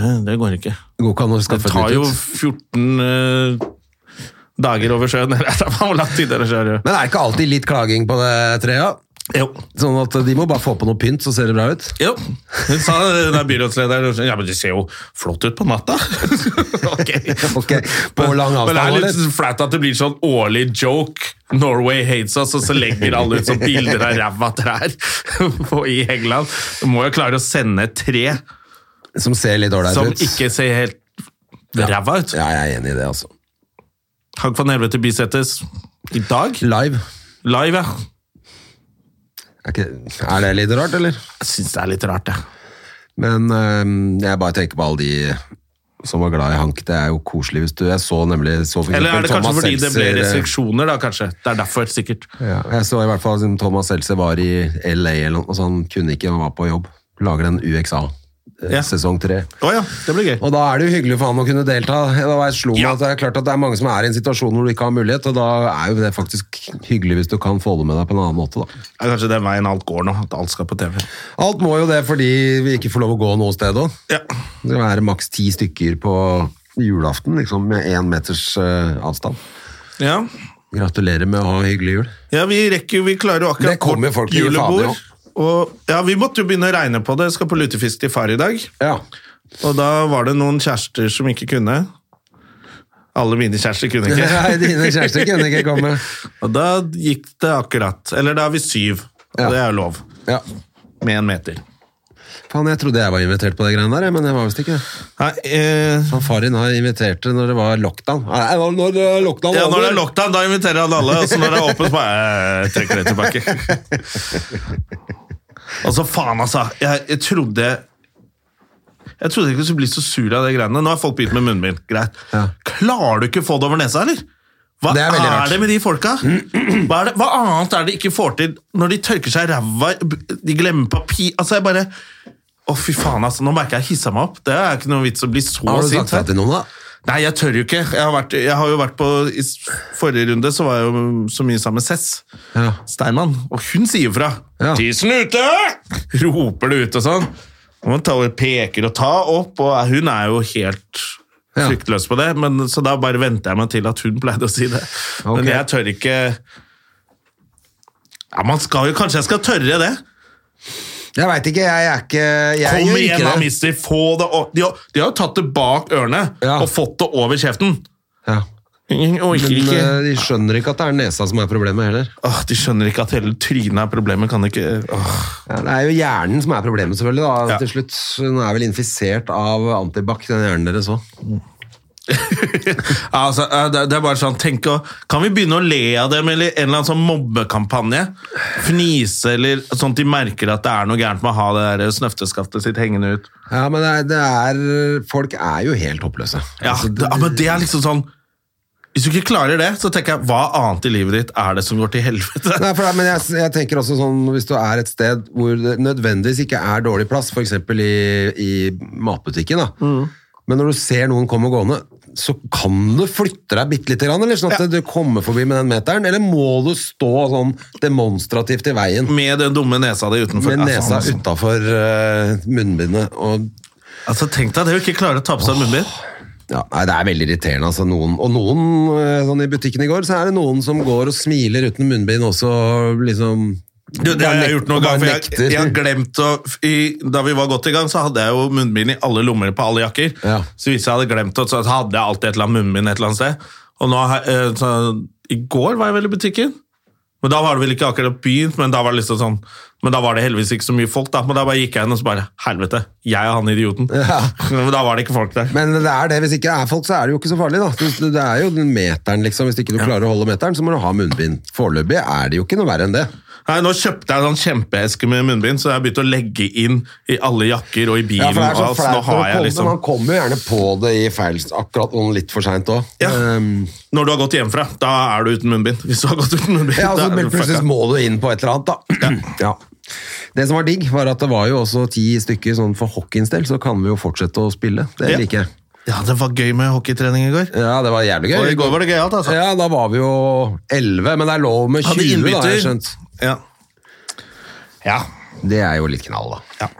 det, det går ikke. Det går ikke an å Det skaffe et tar nytt jo ut. 14 eh, dager over sjøen. eller Hvor lang tid er det sjøen? Men er det ikke alltid litt klaging på det treet? Jo. Sånn at de må bare få på noe pynt, så ser det bra ut. jo. Hun sa den der byrådslederen Ja, men det ser jo flott ut på natta. ok. Ok, På lang Men det er avstand, litt eller? flaut at det blir sånn årlig joke. Norway hates us, og så legger alle ut sånn bilder av ræva trær på- i England. Du må jo klare å sende et tre Som ser litt ålreit som ut. ikke ser helt ræva ut. Ja, jeg er enig i det, altså. Hank van Helvete bisettes i dag. Live. Live, ja. Er, ikke, er det litt rart, eller? Jeg syns det er litt rart, jeg. Men øhm, jeg bare tenker på alle de som var glad i Hank. Det er jo koselig hvis du Jeg så nemlig så for Eller er eksempel det kanskje Thomas fordi det ble Seltzer- eh, restriksjoner, da, kanskje. Det er derfor, sikkert. Ja, jeg så i hvert fall siden Thomas Seltzer var i LA eller noe, og så han kunne ikke, han var på jobb. Lager den UXA, eh, Ja. sesong 3. Å ja, det blir gøy. Og da er det jo hyggelig for han å kunne delta. Da var jeg slo meg Ja. at Det er klart at det er mange som er i en situasjon hvor du ikke har mulighet, og da er jo det faktisk hyggelig hvis du kan få det med deg på en annen måte, da. Det er kanskje den veien alt går nå, at alt skal på TV. Alt må jo det fordi vi ikke får lov å gå noe sted òg. Ja. Det skal være maks ti stykker på julaften, liksom med én meters eh, avstand. ja. Gratulerer med å ha hyggelig jul. Ja, vi rekker jo, vi klarer jo akkurat Det kommer jo folk til å gi fader julebord. Og, ja, vi måtte jo begynne å regne på det. Jeg skal på lutefisk til far i dag. Ja. Og da var det noen kjærester som ikke kunne. Alle mine kjærester kunne ikke. Nei, dine kjærester kunne ikke komme. Og da gikk det akkurat. Eller da er vi syv. Og Ja. det er jo lov. Ja. Med en meter. Faen, jeg trodde jeg var invitert på det greiene der, jeg, men jeg var visst ikke det. Nei, eh, Han faren din har invitert det når det var lockdown. Nei, det var når det var lockdown. ja, når det er over. lockdown, da inviterer han alle. Og så når det er åpent, så bare eh, jeg trekker det tilbake. Og så faen, altså. Jeg, jeg trodde jeg trodde ikke du skulle bli så sur av de greiene. Nå har folk begynt med munnbind. Greit. Ja. Klarer du ikke å få det over nesa, eller? Hva Det er er, veldig rart. det med de folka? Hva, er det, hva annet er det de ikke får til når de tørker seg i ræva? De glemmer papir Altså, jeg bare Å, fy faen, altså. Nå merker jeg jeg hissa meg opp. Det er ikke noe vits å bli så Har du sint. sagt det til noen, da? Nei, jeg tør jo ikke. Jeg har, vært, jeg har jo vært på I s- forrige runde så var jeg jo så mye sammen med Sess Ja. Steinmann, og hun sier fra. Ja. 'Tissen ute!' roper det ut og sånn. Og hun tar, peker og tar opp, og hun er jo helt Ja. fryktløs på det. Men, så da bare venter jeg meg til at hun pleide å si det. Ok. Men jeg tør ikke ja, man skal jo, Kanskje jeg skal tørre det? Jeg veit ikke, jeg er ikke jeg Kom gjør igjen, ikke da, det. mister! Få det opp! De har, de har jo tatt det bak ørene Ja. og fått det over kjeften. Ja. Og ikke, Men ikke. eh, de skjønner ikke at det er nesa som er problemet heller. Åh, de skjønner ikke at hele trynet er problemet. Kan ikke åh. Ja, det er jo hjernen som er problemet, selvfølgelig. da, Ja. til slutt. Den er vel infisert av antibac, den hjernen deres òg. Ja, altså, eh, det, det er bare sånn, tenk å, Kan vi begynne å le av dem, eller en eller annen sånn mobbekampanje? Fnise, eller sånn at de merker at det er noe gærent med å ha det der snøfteskaftet sitt hengende ut. Ja, men det er, det er Folk er jo helt håpløse. Ja, Altså, det, ja, men det er liksom sånn Hvis du ikke klarer det, så tenker jeg hva annet i livet ditt er det som går til helvete? Nei, for det, men jeg, jeg tenker også sånn, Hvis du er et sted hvor det nødvendigvis ikke er dårlig plass, f.eks. I, i matbutikken da. Mm. Men når du ser noen komme gående, så kan du flytte deg bitte lite grann. Eller sånn at du kommer forbi med den meteren, eller må du stå sånn demonstrativt i veien Med den dumme nesa di utenfor. med Mm. Ja, nesa faen, altså. utafor munnbindet? Og Altså, tenk deg det å ikke klare å ta på seg munnbind. Ja, nei, Det er veldig irriterende. altså noen, Og noen eh, sånn i butikken i går, så er det noen som går og smiler uten munnbind også. og liksom... Du, det har jeg gjort noen bare gang, for jeg, nekter. jeg har glemt å i, Da vi var godt i gang, så hadde jeg jo munnbind i alle lommer på alle jakker. Ja. Så hvis jeg hadde glemt det, så hadde jeg alltid et eller annet munnbind et eller annet sted. Og nå, har jeg- eh, så, I går var jeg vel i butikken. Men Da var det vel ikke akkurat begynt, men da var det liksom sånn Men da var det heldigvis ikke så mye folk, da. Men da bare gikk jeg inn og så bare Helvete, jeg og han idioten. Men da var det ikke folk der. Men det er det, hvis ikke det er folk, så er det jo ikke så farlig. da. Du- Det er jo den meteren, liksom. Hvis ikke du klarer å holde meteren, så må du ha munnbind. Foreløpig er det jo ikke noe verre enn det. Nei, Nå kjøpte jeg en sånn kjempeeske med munnbind, så jeg har begynt å legge inn i alle jakker og i bilen. for det er så og alt, så flaut nå har når det jeg kommer, liksom... Man kommer jo gjerne på det i feil Akkurat noen litt for Ehm, seint òg. Ja. Når du har gått hjemmefra, da er du uten munnbind. Hvis du har gått uten munnbind, Ja, altså, da er men du plutselig fucka. må du inn på et eller annet, da. Ja. Det som var digg, var at det var jo også ti stykker sånn for hockeyens del, så kan vi jo fortsette å spille. Det Ja. liker jeg. Ja, det var gøy med hockeytrening i går. Ja, det var jævlig gøy. Og i går var det gøyalt, altså. Ja, da var vi jo 11, men det er lov med 20, da, har jeg skjønt. Ja. Ja. Det er jo litt knall, da. ja.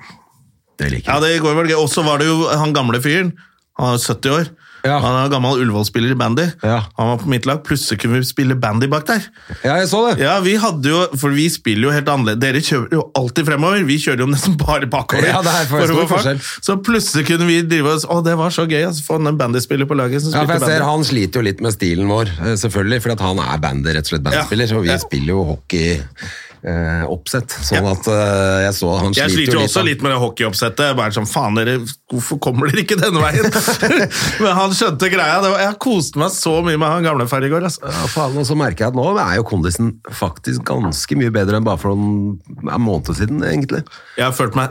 Det ja, liker jeg. det i går var det gøy. Og så var det jo han gamle fyren. Han er 70 år. Ja. Han er gammel Ullevål-spiller i bandy. Ja. Han var på mitt lag. Plutselig kunne vi spille bandy bak der. Ja, jeg så det. Ja, vi hadde jo, for vi spiller jo helt annerledes. Dere kjører jo alltid fremover, vi kjører jo nesten bare bakover. Ja, det er for å stor få fart. forskjell. Så plutselig kunne vi drive oss, å det var så gøy, altså, få en bandyspiller på laget som Ja, for spilte jeg ser bandy. Han sliter jo litt med stilen vår, eh, selvfølgelig, fordi at han er bandy, rett og slett bandyspiller. Ja. Og vi Ja. spiller jo hockey eh, oppsett. Sånn at eh, jeg så han Jeg sliter sliter jo sånn. jo også da. litt med det hockeyoppsettet. Bare sånn, faen dere, Hvorfor kommer dere ikke denne veien? Men han skjønte greia. Det var, jeg koste meg så mye med han gamlefar i går. Altså. Ja, faen, og så merker jeg at nå er jo kondisen faktisk ganske mye bedre enn bare for noen en måned siden, egentlig. Jeg har følt meg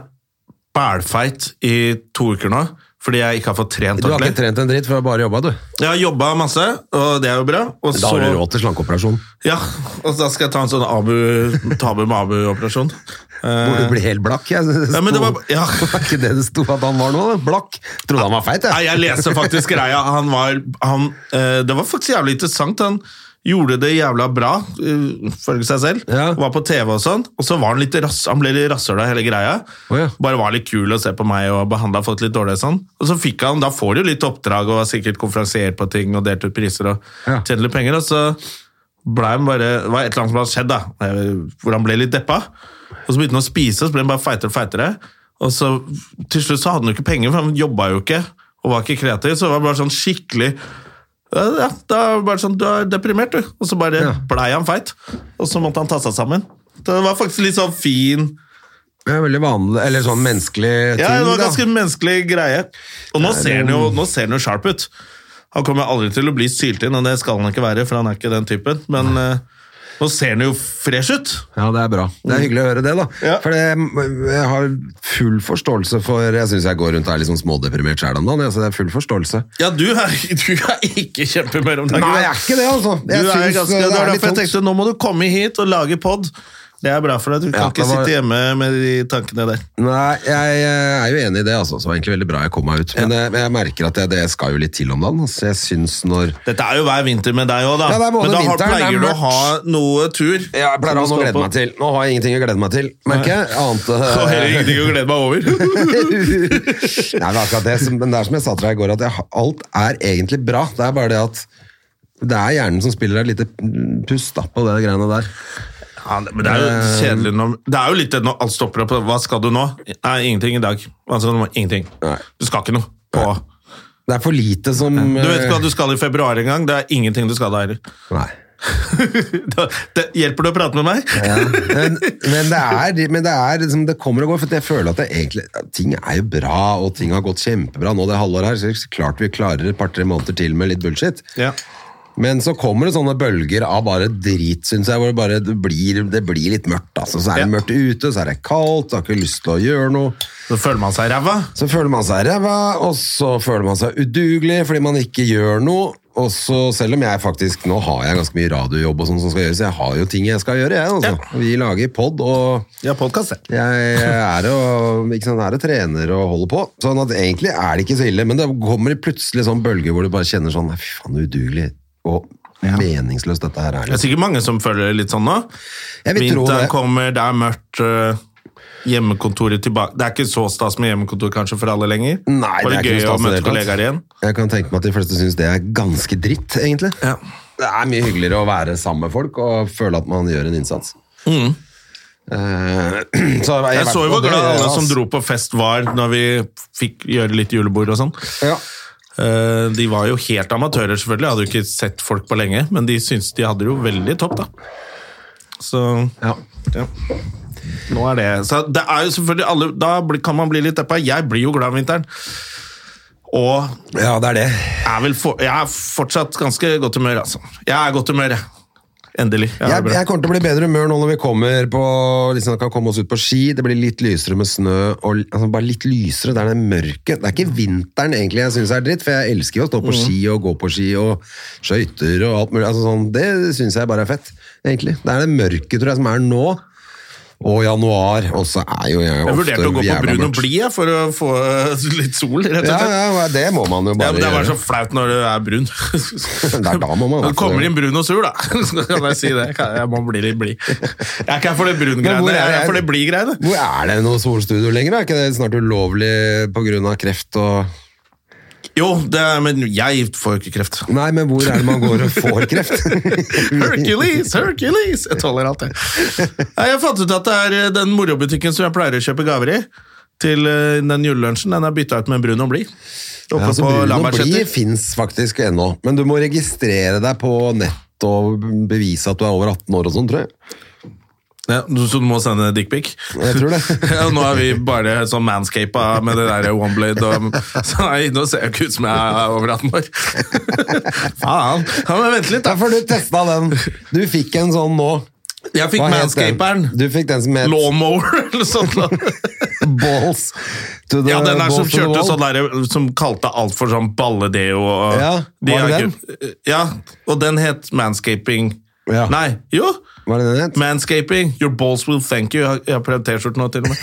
bælfeit i to uker nå, fordi jeg ikke har fått trent Du har ikke ordentlig. trent en dritt, for du har bare jobba, du. Jeg har jobba masse, og det er jo bra. Og Da har du så, råd til slankeoperasjon. ja, og da skal jeg ta en sånn abu, tabu med abu-operasjon. Hvor du Eh, blir helt blakk. Jeg, det Ja, men det sto- var- ja. var ikke det det sto at han var nå? da? Blakk. Trodde han var feit, Nei, jeg leser faktisk greia. Han var han, eh, Det var faktisk jævlig interessant. Han gjorde det jævla bra, uh, følge seg selv. Ja. Var på TV og sånn. Og så var han litt rass, han ble litt rasshøl av hele greia. Å, ja. Bare var litt kul å se på meg og behandla folk litt dårlig og sånn. Og så fikk han, da får du litt oppdrag og var sikkert konferansiert på ting og delt ut priser og Ja. tjente litt penger. Og så ble han bare Det var et eller annet som hadde skjedd, da. eh, Hvor han ble litt deppa. Og så begynte han å spise, og så ble han bare feitere og feitere. Og så til slutt så hadde han jo ikke penger, for han jobba jo ikke. Og var ikke kreativ, så det var bare sånn skikkelig ja, ja, da var det bare sånn, Du er deprimert, du. Og så bare blei han feit. Og så måtte han ta seg sammen. Det var faktisk litt sånn fin Det er veldig vanlig, eller sånn menneskelig ting. Ja, det var da. ganske menneskelig greie. Og nå ser han jo nå ser han jo sharp ut. Han kommer aldri til å bli sylt inn, og det skal han ikke være, for han er ikke den typen. Men eh, nå ser han jo fresh ut. Ja, det er bra. Det er hyggelig å høre det, da. Ja. For det, jeg har full forståelse for Jeg syns jeg går rundt og er litt sånn smådeprimert sjæl om dagen. jeg, Så det er full forstørrelse. Ja, du er, du er ikke kjempehumør om dagen. Nei, jeg er ikke det, altså. Du Jeg eh, er synes ganske, det det er var litt derfor jeg tungt. tenkte nå må du komme hit og lage pod. Det er bra for deg. Du kan Ja, ikke det var- sitte hjemme med de tankene der. Nei, jeg eh, er jo enig i det, altså. Så det var egentlig veldig bra jeg kom meg ut. Men eh, jeg merker at jeg, det skal jo litt til om dagen. Altså, jeg syns når Dette er jo hver vinter med deg òg, da. Ja, det er både Men da har- vinteren, det er pleier du å mørkt. ha noe tur. Ja, jeg pleier å ha noe å glede meg til. Nå har jeg ingenting å glede meg til, merker jeg. Annet Og heller eh, ingenting å glede meg over. Nei, det er akkurat det. som- Men det er som jeg sa til deg i går, at jeg, har- alt er egentlig bra. Det er bare det at det er hjernen som spiller et lite pust da, på det greiene der. Ja, det- men det er jo Eh, kjedelig når Det er jo litt det når alt stopper opp. Hva skal du nå? Nei, ingenting i dag. Altså, nå- ingenting. Nei. Du skal ikke noe. På. Det er for lite som Du vet ikke hva du skal i februar engang. Det er ingenting du skal da heller. eh, Nei. Da- det- Hjelper det å prate med meg? Ja. Men, men det er, men det, er liksom, det kommer og går, for jeg føler at det egentlig, at ting er jo bra, og ting har gått kjempebra nå det halvåret her, så det er klart vi klarer et par-tre måneder til med litt bullshit. Ja. Men så kommer det sånne bølger av bare drit, synes jeg, hvor det bare det blir, det blir litt mørkt. Altså. Så er det Ja. mørkt ute, så er det kaldt, du har ikke lyst til å gjøre noe. Så føler man seg ræva. Så føler man seg ræva, og så føler man seg udugelig fordi man ikke gjør noe. Og så selv om jeg faktisk, Nå har jeg ganske mye radiojobb og sånt som skal gjøres, jeg har jo ting jeg skal gjøre. jeg altså. Vi lager pod, og Ja, podkast, det. jeg er og, ikke sant, er og trener og holder på. Sånn at egentlig er det ikke så ille, men det kommer plutselig sånn bølge hvor du bare kjenner sånn Fy faen, udugelig og meningsløst dette her er. Det er sikkert mange som føler det litt sånn nå. Jeg vil tro Vinteren det. kommer, det er mørkt. øh, Hjemmekontoret tilbake Det er ikke så stas med hjemmekontor kanskje for alle lenger. Nei, det Var det, er ikke noe gøy å stas i møte det hele tatt. kollegaer igjen? Jeg kan tenke meg at de fleste syns det er ganske dritt, egentlig. Ja. Det er mye hyggeligere å være sammen med folk og føle at man gjør en innsats. Eh, så jeg, Mm. Jeg så jo hvor og det- glad alle ja, altså. som ass. dro på fest var når vi fikk gjøre litt julebord og sånn. Ja. Eh, De var jo helt amatører, selvfølgelig. Hadde jo ikke sett folk på lenge, men de syntes de hadde det jo veldig topp, da. Så Ja. ja. Nå er det Så det er jo selvfølgelig alle Da blir- kan man bli litt deppa. Jeg blir jo glad om vinteren. Og ja, det er det. er vel for, jeg er fortsatt ganske godt humør, altså. Jeg er godt humør, jeg. Endelig. Jeg er Jeg, bra. jeg kommer til å bli bedre humør nå når vi kommer på, liksom, kan komme oss ut på ski. Det blir litt lysere med snø. Og, altså, bare litt lysere. Det er det mørket. Det er ikke vinteren egentlig jeg syns er dritt, for jeg elsker jo å stå Mm. på ski og gå på ski og skøyter og alt mulig. Altså, sånn, det syns jeg bare er fett, egentlig. Det er det mørket, tror jeg, som er nå. Og januar, og så er jo jeg jeg ofte vurderte å gå på jævla brun og mørk. blid jeg, for å få eh, litt sol, rett og slett. Ja, ja, det må man jo Ja, bare men det er bare gjøre. så flaut når du er brun. Det er da må man Du være kommer det. inn brun og sur, da. Så kan jeg si det. Jeg må bli litt blid. Jeg er ikke her for det Men hvor brun-greiene, er jeg er her for jeg? det blid-greiene. Hvor er det noe solstudio lenger? da? Er ikke det snart ulovlig pga. kreft og Jo, det er, men jeg får jo ikke kreft. Nei, men hvor er det man går og får kreft? Hercules, Hercules! Jeg tåler alt, jeg. Nei, Jeg fant ut at det er eh, den morobutikken som jeg pleier å kjøpe gaver i, til eh, den julelunsjen, den er bytta ut med brun og blid. Oppe Ja, så brun på og blid Altså, Lambertseter. fins faktisk ennå, men du må registrere deg på nett og bevise at du er over 18 år og sånn, tror jeg. Ja, så du må sende dickpic? Jeg tror det. ja, nå er vi bare sånn manscapa med det der oneblade og så nei, Nå ser jeg ikke ut som jeg er over 18 år. Faen. Ja, men vent litt, Da da. får du testa den. Du fikk en sånn nå. Jeg fikk Hva het den? manscaperen. Du fikk den som het Lawnmower eller sånt. da. Balls to the Ja, den der balls som to the kjørte wall. sånn der, som kalte alt for sånn balledeo. Og, Ja, de var det har ikke- Ja, og den het manscaping. Ja. Nei, jo! Var det den het? Manscaping, your balls will thank you. Jeg har- Jeg har prøvd T-skjorten nå, til og med.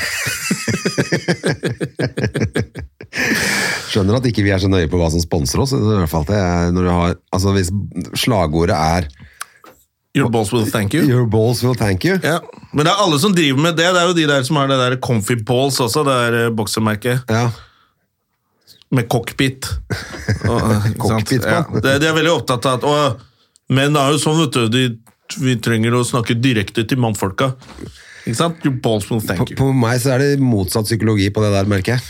Skjønner at ikke vi er så nøye på hva som sponser oss. i hvert fall det er når du har, altså Hvis slagordet er Your balls will thank you. 'Your balls will thank you', Ja. Men det er alle som driver med det. Det er jo de der som har det der Comfy Balls også, det der eh, boksemerket. ja. Med cockpit. Og, eh, ikke sant? Cockpit, ja. man. det, de er veldig opptatt av at å, menn er jo sånn, vet du. De, vi trenger å snakke direkte til mannfolka. Ikke sant? Your balls will På, thank you. på meg så er det motsatt psykologi på det der, merker jeg.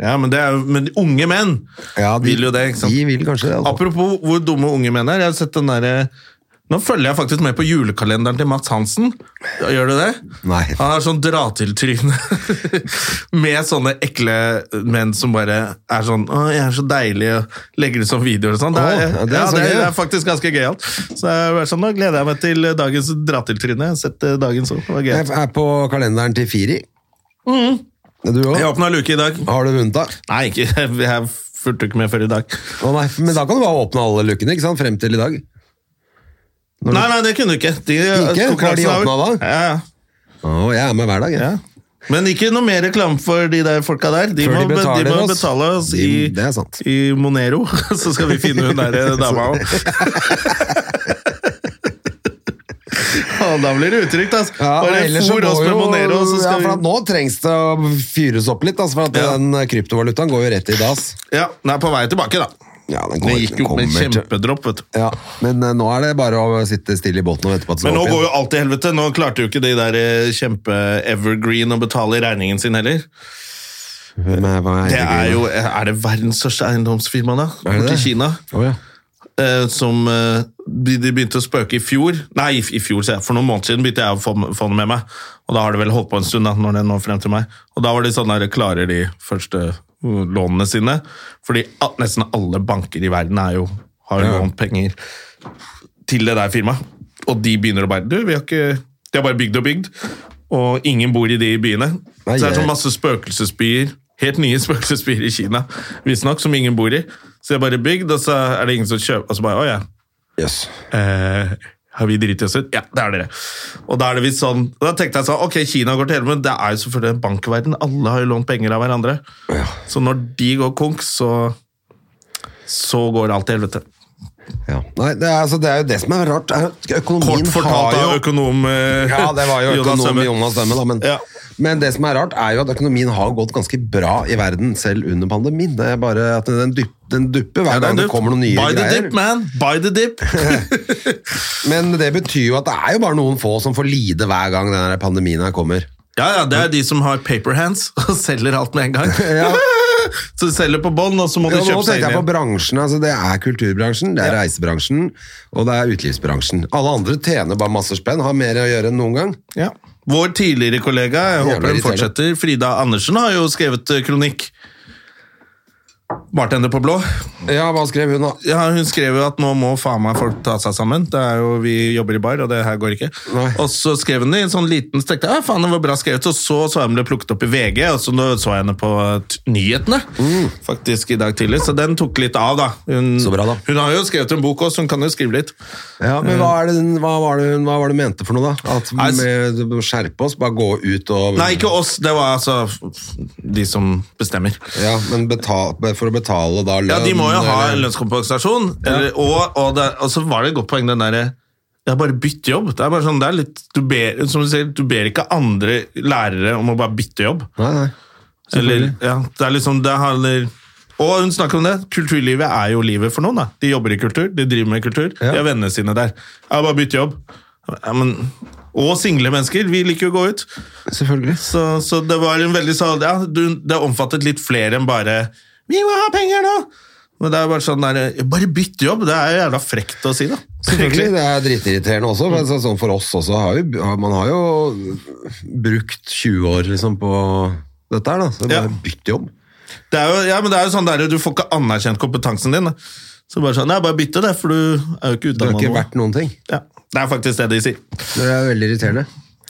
Ja, men, det er, jo- men unge menn Ja, de- vil jo det, ikke sant? De vil kanskje det. Altså. Apropos hvor dumme unge menn er. Jeg har sett den der, eh, nå følger jeg faktisk med på julekalenderen til Mats Hansen. Gjør du det? Nei. Han har sånn dra-til-tryne med sånne ekle menn som bare er sånn 'Å, jeg er så deilig', og legger ut sånn videoer og sånn. Det Å, er, ja, det er ja, så det, er, gøy. det er faktisk ganske gøyalt. Så jeg var sånn, nå gleder jeg meg til dagens dra-til-tryne. Jeg har Sett eh, dagens òg. Det var Jeg gøy. er på kalenderen til Firi. Du Jeg òg? åpna luke i dag. Har du vunnet, da? Nei, ikke, jeg fulgte ikke med før i dag. Å nei, men da kan du bare åpne alle lukene, ikke sant? Frem til i dag. Nei, nei, det kunne du ikke. De, Ikke? Var de konkurransen er vel- åpnet da? Ja, ja. Å, jeg er med hver dag, jeg. Ja. Men ikke noe mer reklame for de der folka der. De, Før må, de betaler de må oss. betale oss De- i, det er sant. i Monero, så skal vi finne hun der eh, dama òg. Da blir det utrygt, altså. Ja, Bare men ellers så fôr må oss med jo- Monero, så ja, skal for at vi Nå trengs det å fyres opp litt, altså, for at Ja. den kryptovalutaen går jo rett i dass. Ja, den er på vei tilbake, da. Ja, den Det gikk jo opp med kommer til- kjempedropp, vet du. Ja, men eh, nå er det bare å sitte stille i båten og vente på at det skal Men nå opp går igjen. jo alt til helvete. Nå klarte jo ikke de der eh, kjempe-Evergreen å betale regningen sin heller. Hvem er, hva er Det er Evergreen? jo Er det verdens største eiendomsfirma, da? Er det Borti det? Kina. Å, ja. eh, som eh, de, de begynte å spøke i fjor. Nei, i, i fjor, sier jeg. for noen måneder siden begynte jeg å få, få den med meg. Og da har det vel holdt på en stund, da, når den nå frem til meg. Og da var de sånn der, klarer de første uh, lånene sine. Fordi a- nesten alle banker i verden er jo, har jo Ja. lånt penger til det der firmaet. Og de begynner å bare Du, vi har ikke De har bare bygd og bygd. Og ingen bor i de byene. Nei, så det er jeg- sånn masse spøkelsesbyer. Helt nye spøkelsesbyer i Kina, visstnok, som ingen bor i. Så de har bare bygd, og så er det ingen som kjøper Og så bare Å ja. Jøss. Eh, har vi driti oss ut? Ja, det er dere. Og da er det visst sånn Da tenkte jeg sånn Ok, Kina går til helvete, men det er jo selvfølgelig en bankverden. Alle har jo lånt penger av hverandre. Ja. Så når de går konk, så Så går alt til helvete. Ja. Nei, det er, altså, det er jo det som er rart. er at Økonomien Kort fortalt har jo av økonom eh, Ja, det var jo Jonas økonom Dømme. Jonas Dømme, da. Men, Ja. men det som er rart, er jo at økonomien har gått ganske bra i verden, selv under pandemien. Det er bare at den, dupp, den dupper hver Ja, det er gang det dypt. kommer noen nye Buy the greier. dip, man! Buy the dip! men det betyr jo at det er jo bare noen få som får lide hver gang denne pandemien her kommer. ja, ja, det er de som har paper hands og selger alt med en gang. Ja. så de selger på bånd, og så må Ja, de nå kjøpe seg tenkte inn jeg på igjen. bransjen. Altså, det er kulturbransjen, det er reisebransjen, og det er utelivsbransjen. Alle andre tjener bare masse spenn, har mer å gjøre enn noen gang. Ja. Vår tidligere kollega, jeg Jævla håper hun irriterende. fortsetter, Frida Andersen har jo skrevet eh, kronikk. Bartender på blå. Eh, Ja, hva skrev hun da? Ja, hun skrev jo at nå må faen meg folk ta seg sammen. Det er jo, Vi jobber i bar, og det her går ikke. Nei. Og så skrev hun det i en sånn liten stekk. Ja, faen, det var bra skrevet. Og så så jeg den ble plukket opp i VG, og så nå så jeg henne på eh, t- nyhetene faktisk i dag tidlig. Så den tok litt av, da. Hun, Mm. Så bra, da. hun har jo skrevet en bok også, hun kan jo skrive litt. Ja, men hva, er det, den- hva, var det, hun- hva var det hun mente for noe da? At Nei, s- vi må skjerpe oss, bare gå ut og... Nei, ikke oss, det var altså f- de som bestemmer. Ja, men betal, for å betale da lønn... Ja, de må jo ha en eller- lønnskompensasjon. Eller, og, og, det, og så var det et godt poeng, den derre ja, bare bytt jobb. Det er bare sånn, det er litt, du ber, som du sier, du ber ikke andre lærere om å bare bytte jobb. Nei, nei. Eller, Selvfølgelig. ja, det er liksom, det handler... Og hun snakker om det, kulturlivet er jo livet for noen da. De jobber i kultur, de driver med kultur, Ja. de har vennene sine der. Ja, bare bytte jobb. Ja, men, og single mennesker, vi liker jo å gå ut. Selvfølgelig. Så, så det var en veldig sånn Ja, du, det omfattet litt flere enn bare 'Vi må ha penger nå!' Men det er bare sånn der, Bare bytt jobb! Det er jo jævla frekt å si, da. Selvfølgelig, det er dritirriterende også. Men så- sånn for oss også, har vi, har- man har jo brukt 20 år liksom på dette her, da. Så Ja. bare bytt jobb. Det er jo, ja, men det er jo sånn der, du får ikke anerkjent kompetansen din. da. Så bare sånn, nei, bare bytte det, for du er jo ikke Du har utdannet ikke noe. vært noen ting. Ja, det er faktisk det de sier. Det er veldig irriterende.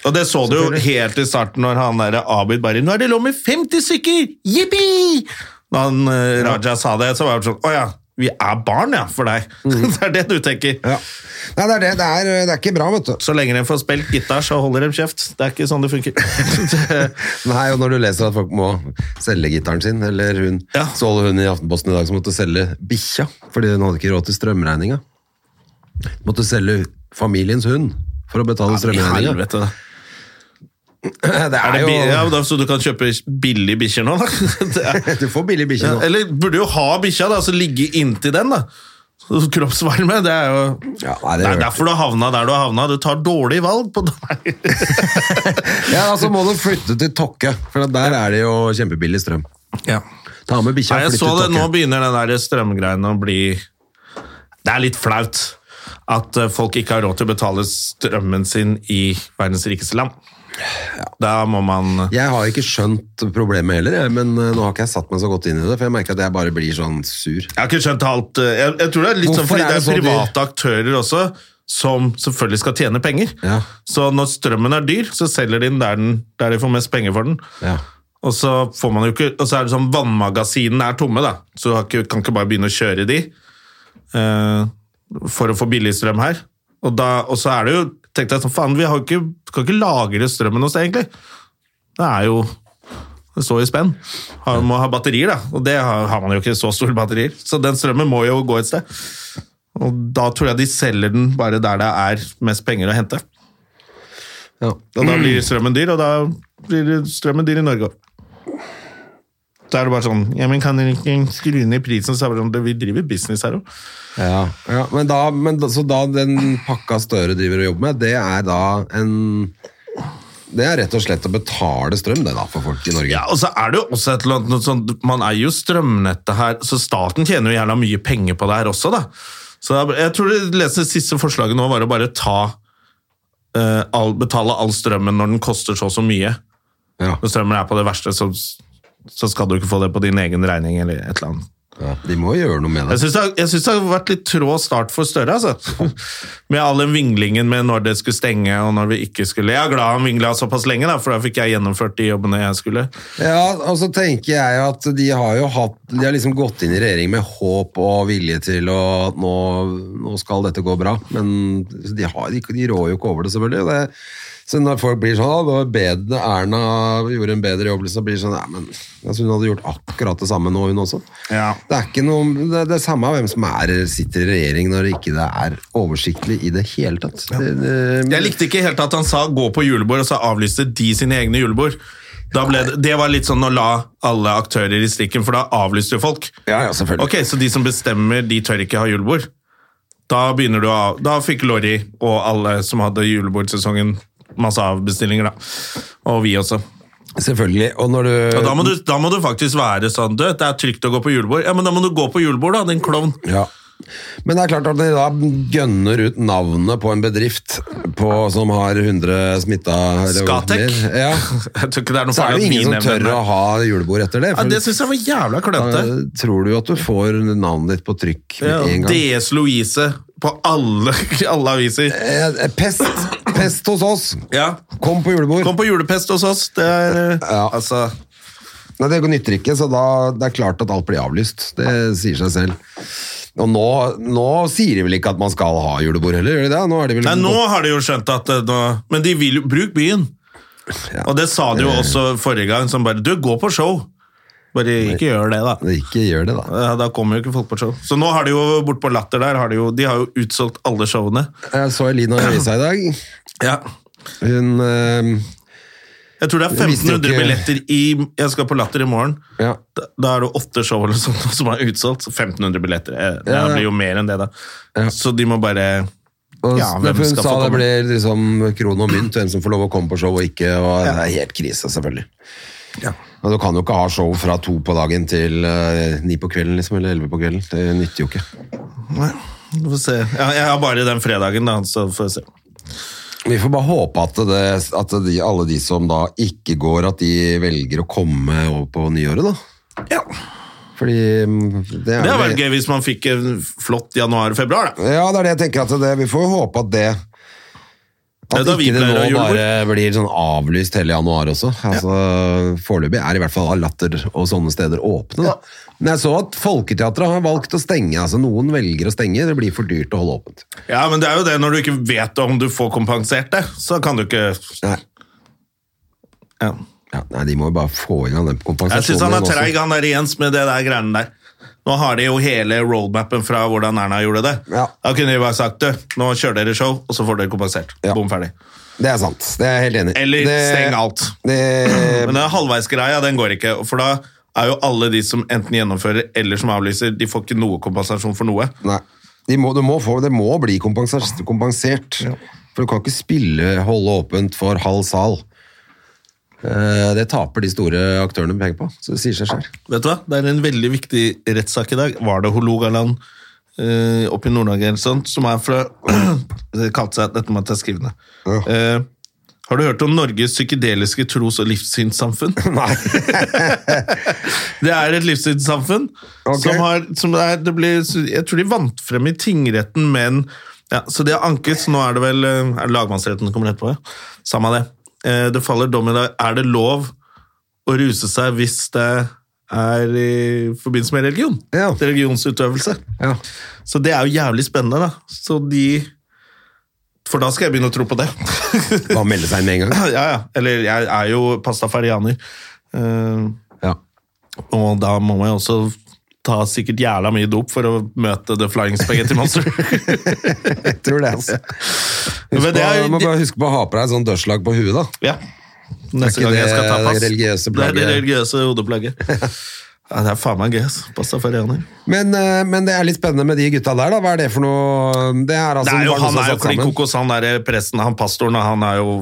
Og det så du jo helt i starten når han der Abid bare, nå er det lov med 50 stykker! Jippi! Når han, eh, Raja sa det, så var det sånn, åja, vi er barn ja, for deg. det er det du tenker. Mm. Ja. Nei, det er det. Det er, det er ikke bra, vet du. Så lenge de får spilt gitar, så holder de kjeft. Det er ikke sånn det funker. Nei, og når du leser at folk må selge gitaren sin, eller hun, Ja. så holder hun i Aftenposten i dag som måtte selge bikkja, fordi hun hadde ikke råd til strømregninga. Måtte selge familiens hund for å betale strømregninga. Helvete, da. Det Er er det bi- ja, jo da, så du kan kjøpe billige bikkjer nå, da? Det er- Du får billig bikkje Ja, nå. eller burde jo ha bikkja, da, så ligge inntil den, da. Så Kroppsvarme, det er jo Ja, nei, det Det gjør er det. derfor du har havna der du har havna. Du tar dårlige valg på deg. Ja, altså må du flytte til Tokke, for der er det jo kjempebillig strøm. Ja. Ta med bikkja Nei, og jeg flytt så til det, Tokke. Nå begynner den der strømgreiene å bli Det er litt flaut at eh, folk ikke har råd til å betale strømmen sin i verdens rikeste land. Da må man Jeg har ikke skjønt problemet heller, jeg, men eh, nå har ikke jeg satt meg så godt inn i det, for jeg merker at jeg bare blir sånn sur. Jeg har ikke skjønt alt eh, Jeg, jeg tror det er litt sånn Hvorfor fordi er det det er så dyrt? private aktører også som selvfølgelig skal tjene penger. Ja. Så når strømmen er dyr, så selger de den der, den der de får mest penger for den. Ja. Og så får man jo ikke Og så er det sånn vannmagasinene er tomme, da. Så du har ikke, kan ikke bare begynne å kjøre de eh, for å få billig strøm her. Og, da, og så er det jo tenkte jeg sånn, faen, vi har jo ikke, kan ikke lagre strømmen hos deg, egentlig. Det er jo det står i spenn. Han må ha batterier, da. Og det har, har man jo ikke så store batterier. Så den strømmen må jo gå et sted. Og da tror jeg de selger den bare der det er mest penger å hente. Ja. Og da blir strømmen dyr, og da blir strømmen dyr i Norge òg. Da er det bare sånn Ja, men kan dere ikke skru ned prisen? Så er det sånn, vi driver business her òg. Ja. Ja, men da, men da, så da den pakka Støre driver og jobber med, det er da en Det er rett og slett å betale strøm, det da, for folk i Norge. Ja, og så er det jo også et eller annet noe sånn, Man eier jo strømnettet her, så staten tjener jo gjerne mye penger på det her også, da. Så det er- jeg tror det leste siste forslaget nå var å bare ta eh, all, Betale all strømmen når den koster så og så mye. Ja. Når strømmen er på det verste, så, så skal du ikke få det på din egen regning eller et eller annet. Ja, de må jo gjøre noe med Jeg det. syns det, har- jeg synes det har vært litt trå start for Støre, altså. Med all den vinglingen med når det skulle stenge og når vi ikke skulle. Jeg er glad han vingla såpass lenge, da, for da fikk jeg gjennomført de jobbene jeg skulle. Ja, og så tenker jeg at de har jo hatt De har liksom gått inn i regjering med håp og vilje til å at nå, nå skal dette gå bra, men de, har, de, de rår jo ikke over det, selvfølgelig. og Det, så når folk blir sånn «Å, det var bedre, Erna gjorde en bedre jobb, liksom, blir det sånn Nei, men altså, hun hadde gjort akkurat det samme nå, hun også. Ja. Det er ikke noe Det er det samme hvem som er, sitter i regjering når ikke det er oversiktlig i det hele tatt. Det, det, Jeg likte ikke helt at han sa 'gå på julebord', og så avlyste de sine egne julebord. Da ble det, det var litt sånn å la alle aktører i stikken, for da avlyste jo folk. ja, ja, selvfølgelig. Ok, Så de som bestemmer, de tør ikke ha julebord. Da begynner du å Da fikk Lorry og alle som hadde julebordsesongen, masse avbestillinger, da. Og vi også. Selvfølgelig. Og når du Ja, da, må du, da må du faktisk være sånn Du, det er trygt å gå på julebord. Ja, men da må du gå på julebord, da, din klovn. Ja. Men det er klart at de da gønner ut navnet på en bedrift på, som har 100 smitta eller Skatek. mer. Ja. Jeg tror ikke det er noe Så er det jo farlig at vi ingen som nevner tør å det. ha julebord etter det. Ja, For det syns jeg var jævla klønete. da tror du jo at du får navnet ditt på trykk med Ja, en gang. DS Louise på alle, alle aviser. Eh, Pest! Pest hos oss! Ja. Kom på julebord! Kom på julepest hos oss. Det er eh, Ja. altså Nei, Det nytter ikke, så da, det er klart at alt blir avlyst. Det sier seg selv. Og nå, nå sier de vel ikke at man skal ha julebord heller, gjør de det? Nå er de vel Nei, nå har de jo skjønt at eh, nå, Men de vil jo Bruk byen. Og det sa de jo Eh. også forrige gang, som bare Du, gå på show. Bare ikke gjør det, da. Ikke gjør det, da. Ja, Eh, Da kommer jo ikke folk på show. Så nå har de jo bort på Latter der har de, jo, de har jo utsolgt alle showene. Jeg så Elina Røisa i dag. Ja. Hun eh, Jeg tror det er Jeg visste jo 1500 ikke- billetter i Jeg skal på Latter i morgen. Ja. Da, da er det åtte show eller sånt som er utsolgt. Så 1500 billetter. Eh, Det Ja, ja. blir jo mer enn det, da. Så de må bare Og Ja, hvem for hun skal sa få det komme? blir liksom kron og mynt, hvem som får lov å komme på show og ikke. Og Det er helt krise, selvfølgelig. Og Du kan jo ikke ha show fra to på dagen til eh, ni på kvelden, liksom, eller elleve på kvelden. Det nytter jo ikke. Vi får se. Ja, jeg har bare den fredagen, da, så får vi se. Vi får bare håpe at, det, at de, alle de som da ikke går, at de velger å komme over på nyåret, da. Ja. Fordi mm, det er Det hadde vel- vært gøy hvis man fikk en flott januar-februar, da. Ja, det er det jeg tenker at det, vi får jo håpe at det At Det er da vi ikke det nå pleier å ha julebord. bare blir sånn avlyst hele januar også. Altså, Foreløpig er i hvert fall Latter og sånne steder åpne. Da. Men jeg så at Folketeatret har valgt å stenge. altså Noen velger å stenge, det blir for dyrt å holde åpent. Ja, men det er jo det når du ikke vet om du får kompensert det, så kan du ikke Nei, ja. ja, nei de må jo bare få inn den kompensasjonen. Jeg syns han er også. treig, han der Jens, med det der greiene der. Nå har de jo hele roadmappen fra hvordan Erna gjorde det. Ja. Da kunne de bare sagt det. Nå kjører dere show, og så får dere kompensert. Ja. Bom ferdig. Det er sant, det er jeg helt enig i. Eller det, steng alt. Det, Men den halvveisgreia, den går ikke. For da er jo alle de som enten gjennomfører eller som avlyser, de får ikke noe kompensasjon for noe. Nei. De må, du må få, det må bli kompensert. kompensert. For du kan ikke spille, holde åpent for halv sal. Eh, Det taper de store aktørene penger på, så det sier seg selv. Vet du hva? Det er en veldig viktig rettssak i dag. Var det Hålogaland eh, oppe i Nord-Norge eller sånt, som er fra Det kalte seg Dette må jeg ta skrivende. Ja. Eh, har du hørt om Norges psykedeliske tros- og livssynssamfunn? Nei. Det er et livssynssamfunn Ok. som har som det er, det blir, Jeg tror de vant frem i tingretten, men ja, Så de har anket, så nå er det vel eh, er det lagmannsretten som kommer etterpå. Ja. Samme det. Eh, Det faller dom i dag. Er det lov å ruse seg hvis det er i forbindelse med religion? Ja. Religionsutøvelse. Ja. Så det er jo jævlig spennende, da. Så de For da skal jeg begynne å tro på det. Bare melde seg inn med en gang. ja, ja. Eller jeg er jo pastafarianer. Eh, Ja. og da må man jo også ta sikkert jævla mye dop for å møte The Flying Spaghetti Monster. Jeg tror det, altså. Husk Men det er på, jo- du må bare huske på å ha på deg et sånt dørslag på huet, da. ja. Neste Er ikke gang jeg skal det ta pass. det religiøse Det er plagget? det religiøse hodeplagget. Ja, det er faen meg gøy, ass. Pastafarianer. Men, eh, men det er litt spennende med de gutta der, da. Hva er det for noe Det er Det altså er jo, bare noen han som er har jo satt klin sammen. kokos, han der eh, presten, han pastoren, og han har jo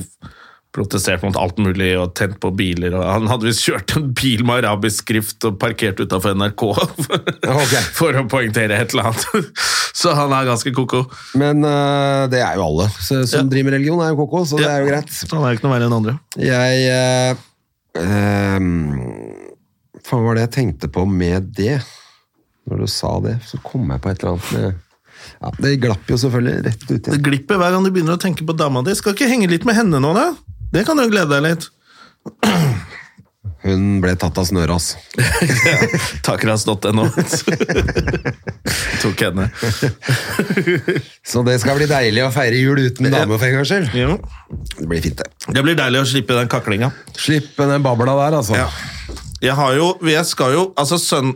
protestert mot alt mulig og tent på biler. Og han hadde visst kjørt en bil med arabisk skrift og parkert utafor NRK Ok. for å poengtere et eller annet. Så han er ganske koko. Men eh, det er jo alle så, som Ja. driver med religion, er jo koko, så det Ja. er jo greit. Så han er jo ikke noe verre enn andre. Jeg eh, ehm, Faen, hva var det jeg tenkte på med det? Når du sa det, så kom jeg på et eller annet med ja, Det glapp jo selvfølgelig rett ut Det igjen. glipper hver gang du begynner å tenke på dama di. Skal ikke henge litt med henne nå, da? Det kan du glede deg litt. Hun ble tatt av altså. snøras. Takras.no. Tok henne. Så det skal bli deilig å feire jul uten dame for en gangs skyld. Jo. Det blir fint, det. Det blir deilig å slippe den kaklinga. Slipp den babla der, altså. Ja. Jeg har jo Jeg skal jo Altså, sønn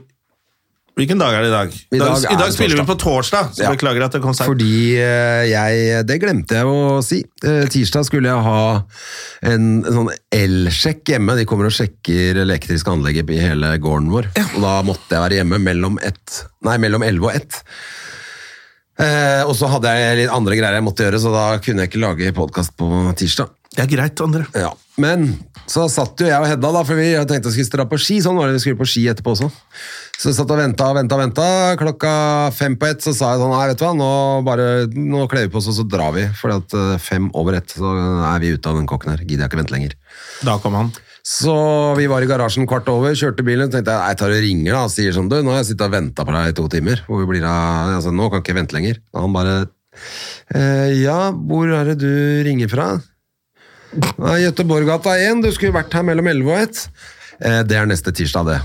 Hvilken dag er det i dag? I dag I er dag det spiller vi på torsdag, så Ja. beklager at det kom seint. Fordi eh, jeg Det glemte jeg å si. Eh, Tirsdag skulle jeg ha en, en sånn elsjekk hjemme. De kommer og sjekker elektriske anlegg i hele gården vår. Og da måtte jeg være hjemme mellom ett Nei, mellom elleve og ett. Eh, og så hadde jeg litt andre greier jeg måtte gjøre, så da kunne jeg ikke lage podkast på tirsdag. Det er greit, André. Ja, Men så satt jo jeg og Hedda, da, for vi tenkte vi skulle dra på ski. Sånn var det vi skulle på ski etterpå også. Så vi satt og venta og venta. venta. Klokka fem på ett så sa jeg sånn Nei, vet du hva, nå, bare, nå kler vi på oss, og så drar vi. For at eh, fem over ett så er vi ute av den kokken her. Gidder jeg ikke vente lenger. Da kom han. Så vi var i garasjen kvart over, kjørte bilen, og tenkte jeg «Nei, jeg tar og ringer da, og sier sånn, du, nå har jeg sittet og ventet på deg i to timer, hvor blir av, altså nå kan jeg ikke vente lenger. Og han bare, «Eh, ja, hvor er det du ringer fra? Nei, Gøteborggata 1, du skulle vært her mellom 11 og 1. Eh, det er neste tirsdag det.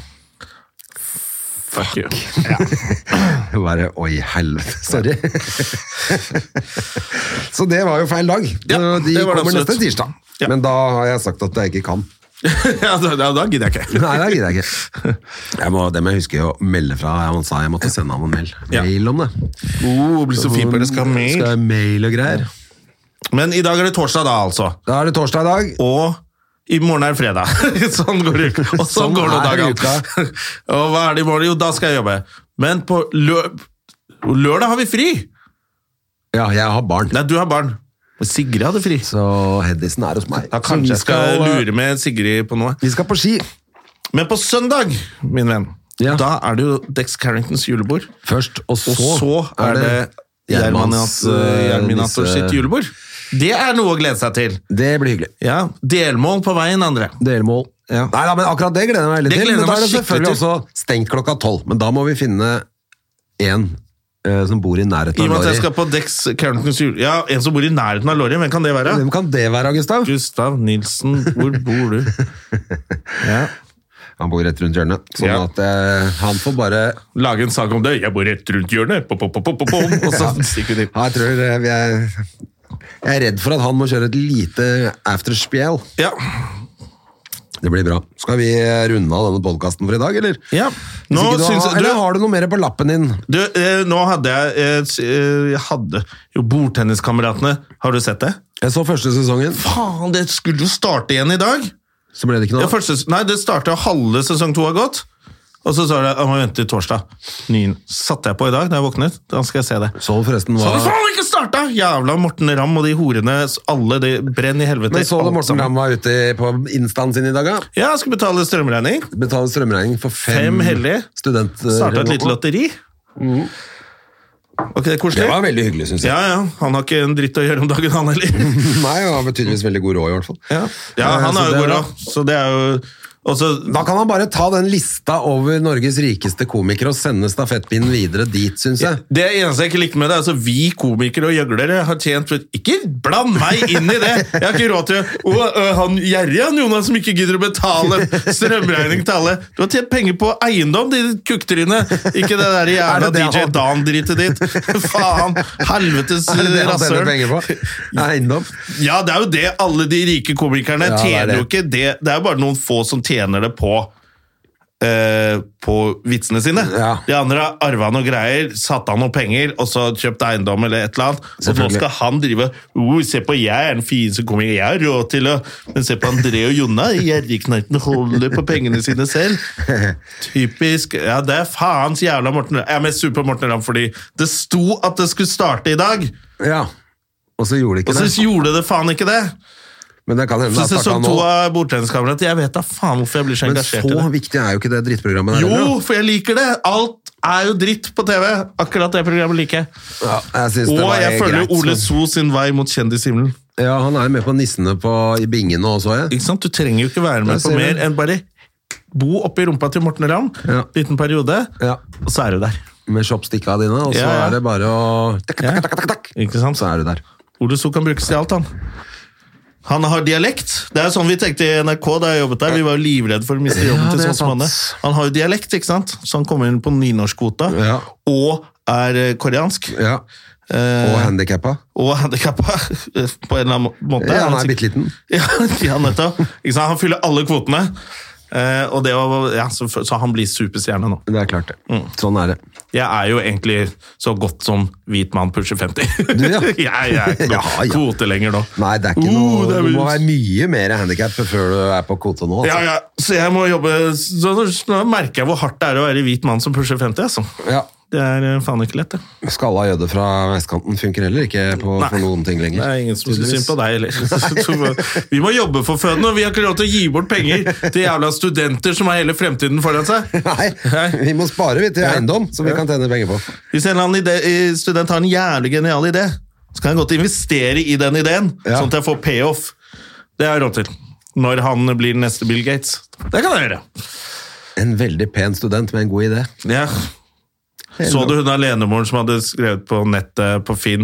Fuck you. Jeg Bare, oi, helvete, sorry. Så det var jo feil dag. Ja, De det var det kommer absolutt. neste tirsdag. Ja. Men da har jeg sagt at jeg ikke kan. ja, da, da, da gidder jeg ikke. Nei, det gidder jeg ikke. Jeg må, det må jeg huske å melde fra. Han sa jeg måtte sende ham en mail. Ja. Mail om det. Oh, blir så fin på det, skal ha mail. Skal jeg mail og greier. Men i dag er det torsdag, da, altså. Da er det torsdag i dag. Og i morgen er det fredag. sånn går uka. Og sånn, Sånn går nå er dagene. og hva er det i morgen? Jo, da skal jeg jobbe. Men på lø lørdag har vi fri! Ja, jeg har barn. Nei, du har barn. Men Sigrid hadde fri. Så Hedisen er hos meg. Da Så kanskje vi jeg skal eh, lure med Sigrid på noe. Vi skal på ski. Men på søndag, min venn, Ja. da er det jo Dex Carringtons julebord. Først, og så, Og så er det Gjermans, Gjermans, eh, Gjerminator disse- sitt julebord. Det er noe å glede seg til. Det blir hyggelig. Ja, Delmål på veien, andre. Delmål. Ja. Nei da, men akkurat det gleder jeg meg veldig Det til. gleder Men jeg da er meg det selvfølgelig skikkelig til. også stengt klokka tolv. Men da må vi finne en eh, som bor i nærheten I av og med at jeg Lorry. skal på Dex Carringtons jul... Ja, en som bor i nærheten av Lorry. Hvem kan det være? Hvem kan det være, Gustav? Gustav Nilsen, hvor bor du? Ja. Han bor rett rundt hjørnet. Sånn Ja. at eh, han får bare Lage en sak om det. 'Jeg bor rett rundt hjørnet', pop, pop, pop, pop, pop, og så stikker vi dit. Ja, jeg tror eh, vi er Jeg er redd for at han må kjøre et lite afterspiel. Ja. Det blir bra. Skal vi eh, runde av denne podkasten for i dag, eller? ja. Hvis Nå ikke du syns har, jeg eller du, har du noe mer på lappen din? du, eh, Nå hadde jeg eh, s- eh, Jeg hadde jo Bordtenniskameratene. Har du sett det? Jeg så første sesongen, Faen, det skulle jo starte igjen i dag! så ble det ikke Ja, noe. av. første, ses- nei, det starta halve sesong to har gått. Og så sa det at man venter til torsdag. Nyen satte jeg på i dag da jeg våknet. Da skal jeg se det. Så forresten Så hva hadde faen ikke starta! Jævla Morten Ramm og de horene. Alle de brenn i helvete. Men så du alt Morten sammen. Ramm var ute på instaen sin i dag, da? Ja, jeg skulle betale strømregning. Betale strømregning for fem, Fem hellige. student... Starta et lite lotteri. Mm. Ok, det er Det koselig. var veldig hyggelig, syns jeg. Ja, ja. Han har ikke en dritt å gjøre om dagen, han heller. Nei, han var tydeligvis veldig god råd, i hvert fall. Ja, ja Eh, han så har jo det god var- råd, så det er jo Og så Da kan han bare ta den lista over Norges rikeste komikere og sende stafettpinnen videre dit, syns jeg. Det eneste jeg ikke likte med det, er altså vi komikere og gjøglere har tjent Ikke bland meg inn i det! Jeg har ikke råd til å Å, ø, han gjerrig, han Jonas, som ikke gidder å betale strømregning til alle. Du har tjent penger på eiendom, de kukktrynet! Ikke det Er der jævla det det DJ han- Dan-dritet ditt! Faen! Helvetes Er det det han tjener rasshøl! penger på? Eiendom? Ja, det er jo det alle de rike komikerne Ja, det er tjener det. jo ikke. Det, det er jo bare noen få som tjener det på eh, på vitsene sine. Ja. De andre har arva noe greier, satt av noen penger og så kjøpt eiendom eller et eller annet. Og nå Selvfølgelig. skal han drive oh, 'Se på, jeg er den fineste komikeren jeg har råd til å Men se på André og Jonna, gjerrigknartene holder på pengene sine selv. Typisk. Ja, det er faens jævla Morten Ramm. Jeg er mest sur på Morten Ramm fordi det sto at det skulle starte i dag, Ja. Og så gjorde de og ikke så det. gjorde det faen ikke det! Men det kan hende det Så er snakka sesong nå. to av Bordtenniskamerat. Jeg vet da faen hvorfor jeg blir så Men engasjert så i det. viktig er jo ikke det drittprogrammet der Jo, heller. for jeg liker det! Alt er jo dritt på TV. Akkurat det programmet liker jeg. da. Ja, jeg synes det Og var jeg følger greit, Ole så- So sin vei mot kjendishimmelen. Ja, han er jo med på Nissene på, i Bingen nå, så jeg. Ikke sant? Du trenger jo ikke være med Jeg på ser mer det. enn bare bo oppi rumpa til Morten Ramm. Ja. Liten periode, Ja. og så er du der. Med chopsticka dine, og så Ja, ja. er det bare å takk, takk, Ja. takk, takk, takk, Ikke sant? Så er du der. Ole So kan brukes til alt, han. Han har dialekt. Det er jo sånn vi tenkte i NRK da jeg jobbet der. Vi var jo livredde for å miste jobben Ja, det til er sånn som han er. sant. Han har jo dialekt, ikke sant? Så han kommer inn på nynorskkvota, Ja. og er eh, koreansk. Ja. Og Eh, handikappa. og handikappa, på en eller annen må- måte. Ja, han er sikk- bitte liten. Ja, ja, nettopp. Ikke sant? Han fyller alle kvotene. Eh, og det var, ja, så, så han blir superstjerne nå. Det er klart, det. Mm. Sånn er det. Jeg er jo egentlig så godt som hvit mann pusher 50. Du, ja. jeg, jeg er ikke noe Ja, ja. kvote lenger nå. Nei, det er ikke Uh, noe det er Du må vel- være mye mer handikap før du er på kvote nå. Ja, Altså. ja, så jeg må jobbe så, så, Nå merker jeg hvor hardt det er å være hvit mann som pusher 50, altså. Ja. Det er eh, faen ikke lett, det. Skalla jøde fra vestkanten funker heller ikke på, for noen ting lenger. Det er ingen som syns tydeligvis. synd på deg heller. Så vi må jobbe for føden, og vi har ikke lov til å gi bort penger til jævla studenter som har hele fremtiden foran seg. Nei, vi må spare vi til eiendom som vi kan tjene penger på. Hvis en eller annen ide- student har en jævlig genial idé, så kan jeg godt investere i den ideen, Ja. sånn at jeg får payoff. Det har jeg råd til. Når han blir neste Bill Gates. Det kan jeg gjøre. En veldig pen student med en god idé. Ja. Så du hun alenemoren som hadde skrevet på nettet på Finn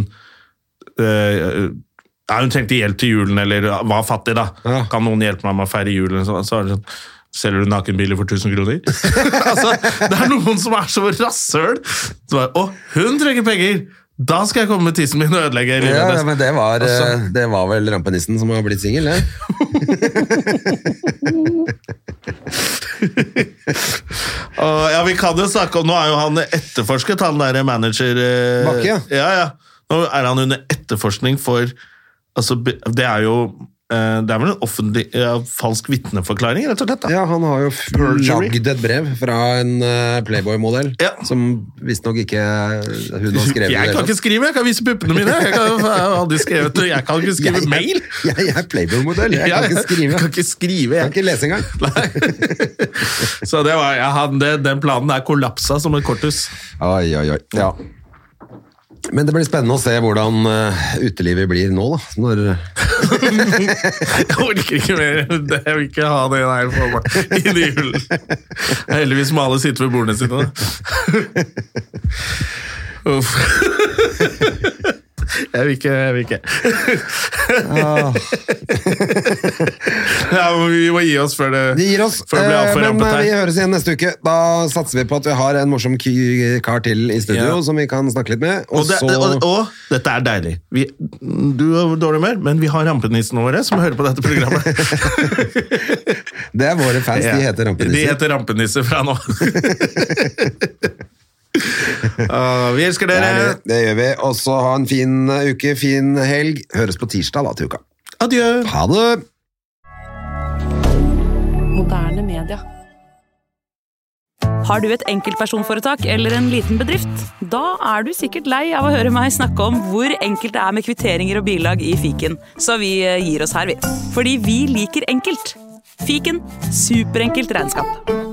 eh, ja, Hun trengte hjelp til julen, eller var fattig, da. Ja. Kan noen hjelpe meg med å feire julen? Så, så er det sånn Selger du nakenbiler for 1000 kroner? altså, det er noen som er så rasshøl! Så bare, Å, hun trenger penger! Da skal jeg komme med tissen min og ødelegge livet Ja, hennes. men det var, Altså- eh, det var vel rampenissen som har blitt singel, det. Og, ja, vi kan jo snakke om Nå er jo han etterforsket, han der manager eh, Bakke, ja. ja, ja. Nå er han under etterforskning for altså, be- Det er jo eh, Det er vel en offentlig ja, falsk vitneforklaring, rett og slett. da. Ja, han har jo f- Perjury. lagd et brev fra en eh, Playboy-modell, Ja. som visstnok ikke eh, hun har skrevet. i det Jeg hele kan tatt. ikke skrive, jeg kan vise puppene mine! Jeg, kan, jeg har aldri skrevet noe, jeg kan ikke skrive Jeg- jeg- mail! Jeg, jeg er Playboy-modell, jeg Ja, kan ikke skrive. Jeg kan ikke skrive, Jeg kan jeg. ikke lese engang. Så det var, ja, han, det, den planen er kollapsa som et korthus. Oi, oi, oi. Ja. Men det blir spennende å se hvordan eh, utelivet blir nå, da. Når, Jeg orker ikke mer. Det- Jeg vil ikke ha det der for meg i de julen. Heldigvis må alle sitte ved bordene sine. da. Uff. Jeg vil ikke, jeg vil ikke. Ja, men vi må gi oss før det, de gir oss. før det blir eh, altfor men rampete eh, vi her. høres igjen neste uke. Da satser vi på at vi har en morsom ky- kar til i studio Ja. som vi kan snakke litt med. Og, Og, det, så og, og dette er deilig. Vi, du har dårlig humør, men vi har rampenissene våre som hører på dette programmet. Det er våre fans. De heter De Rampenisser. heter rampenisser fra nå. Ah, vi elsker Det, dere. er det. det gjør vi. Og så ha en fin eh, uke, fin helg. Høres på tirsdag da til uka. Adjø. Ha det! Moderne media. Har du et enkeltpersonforetak eller en liten bedrift? Da er du sikkert lei av å høre meg snakke om hvor enkelt det er med kvitteringer og bilag i fiken, så vi eh, gir oss her, vi. Fordi vi liker enkelt. Fiken superenkelt regnskap.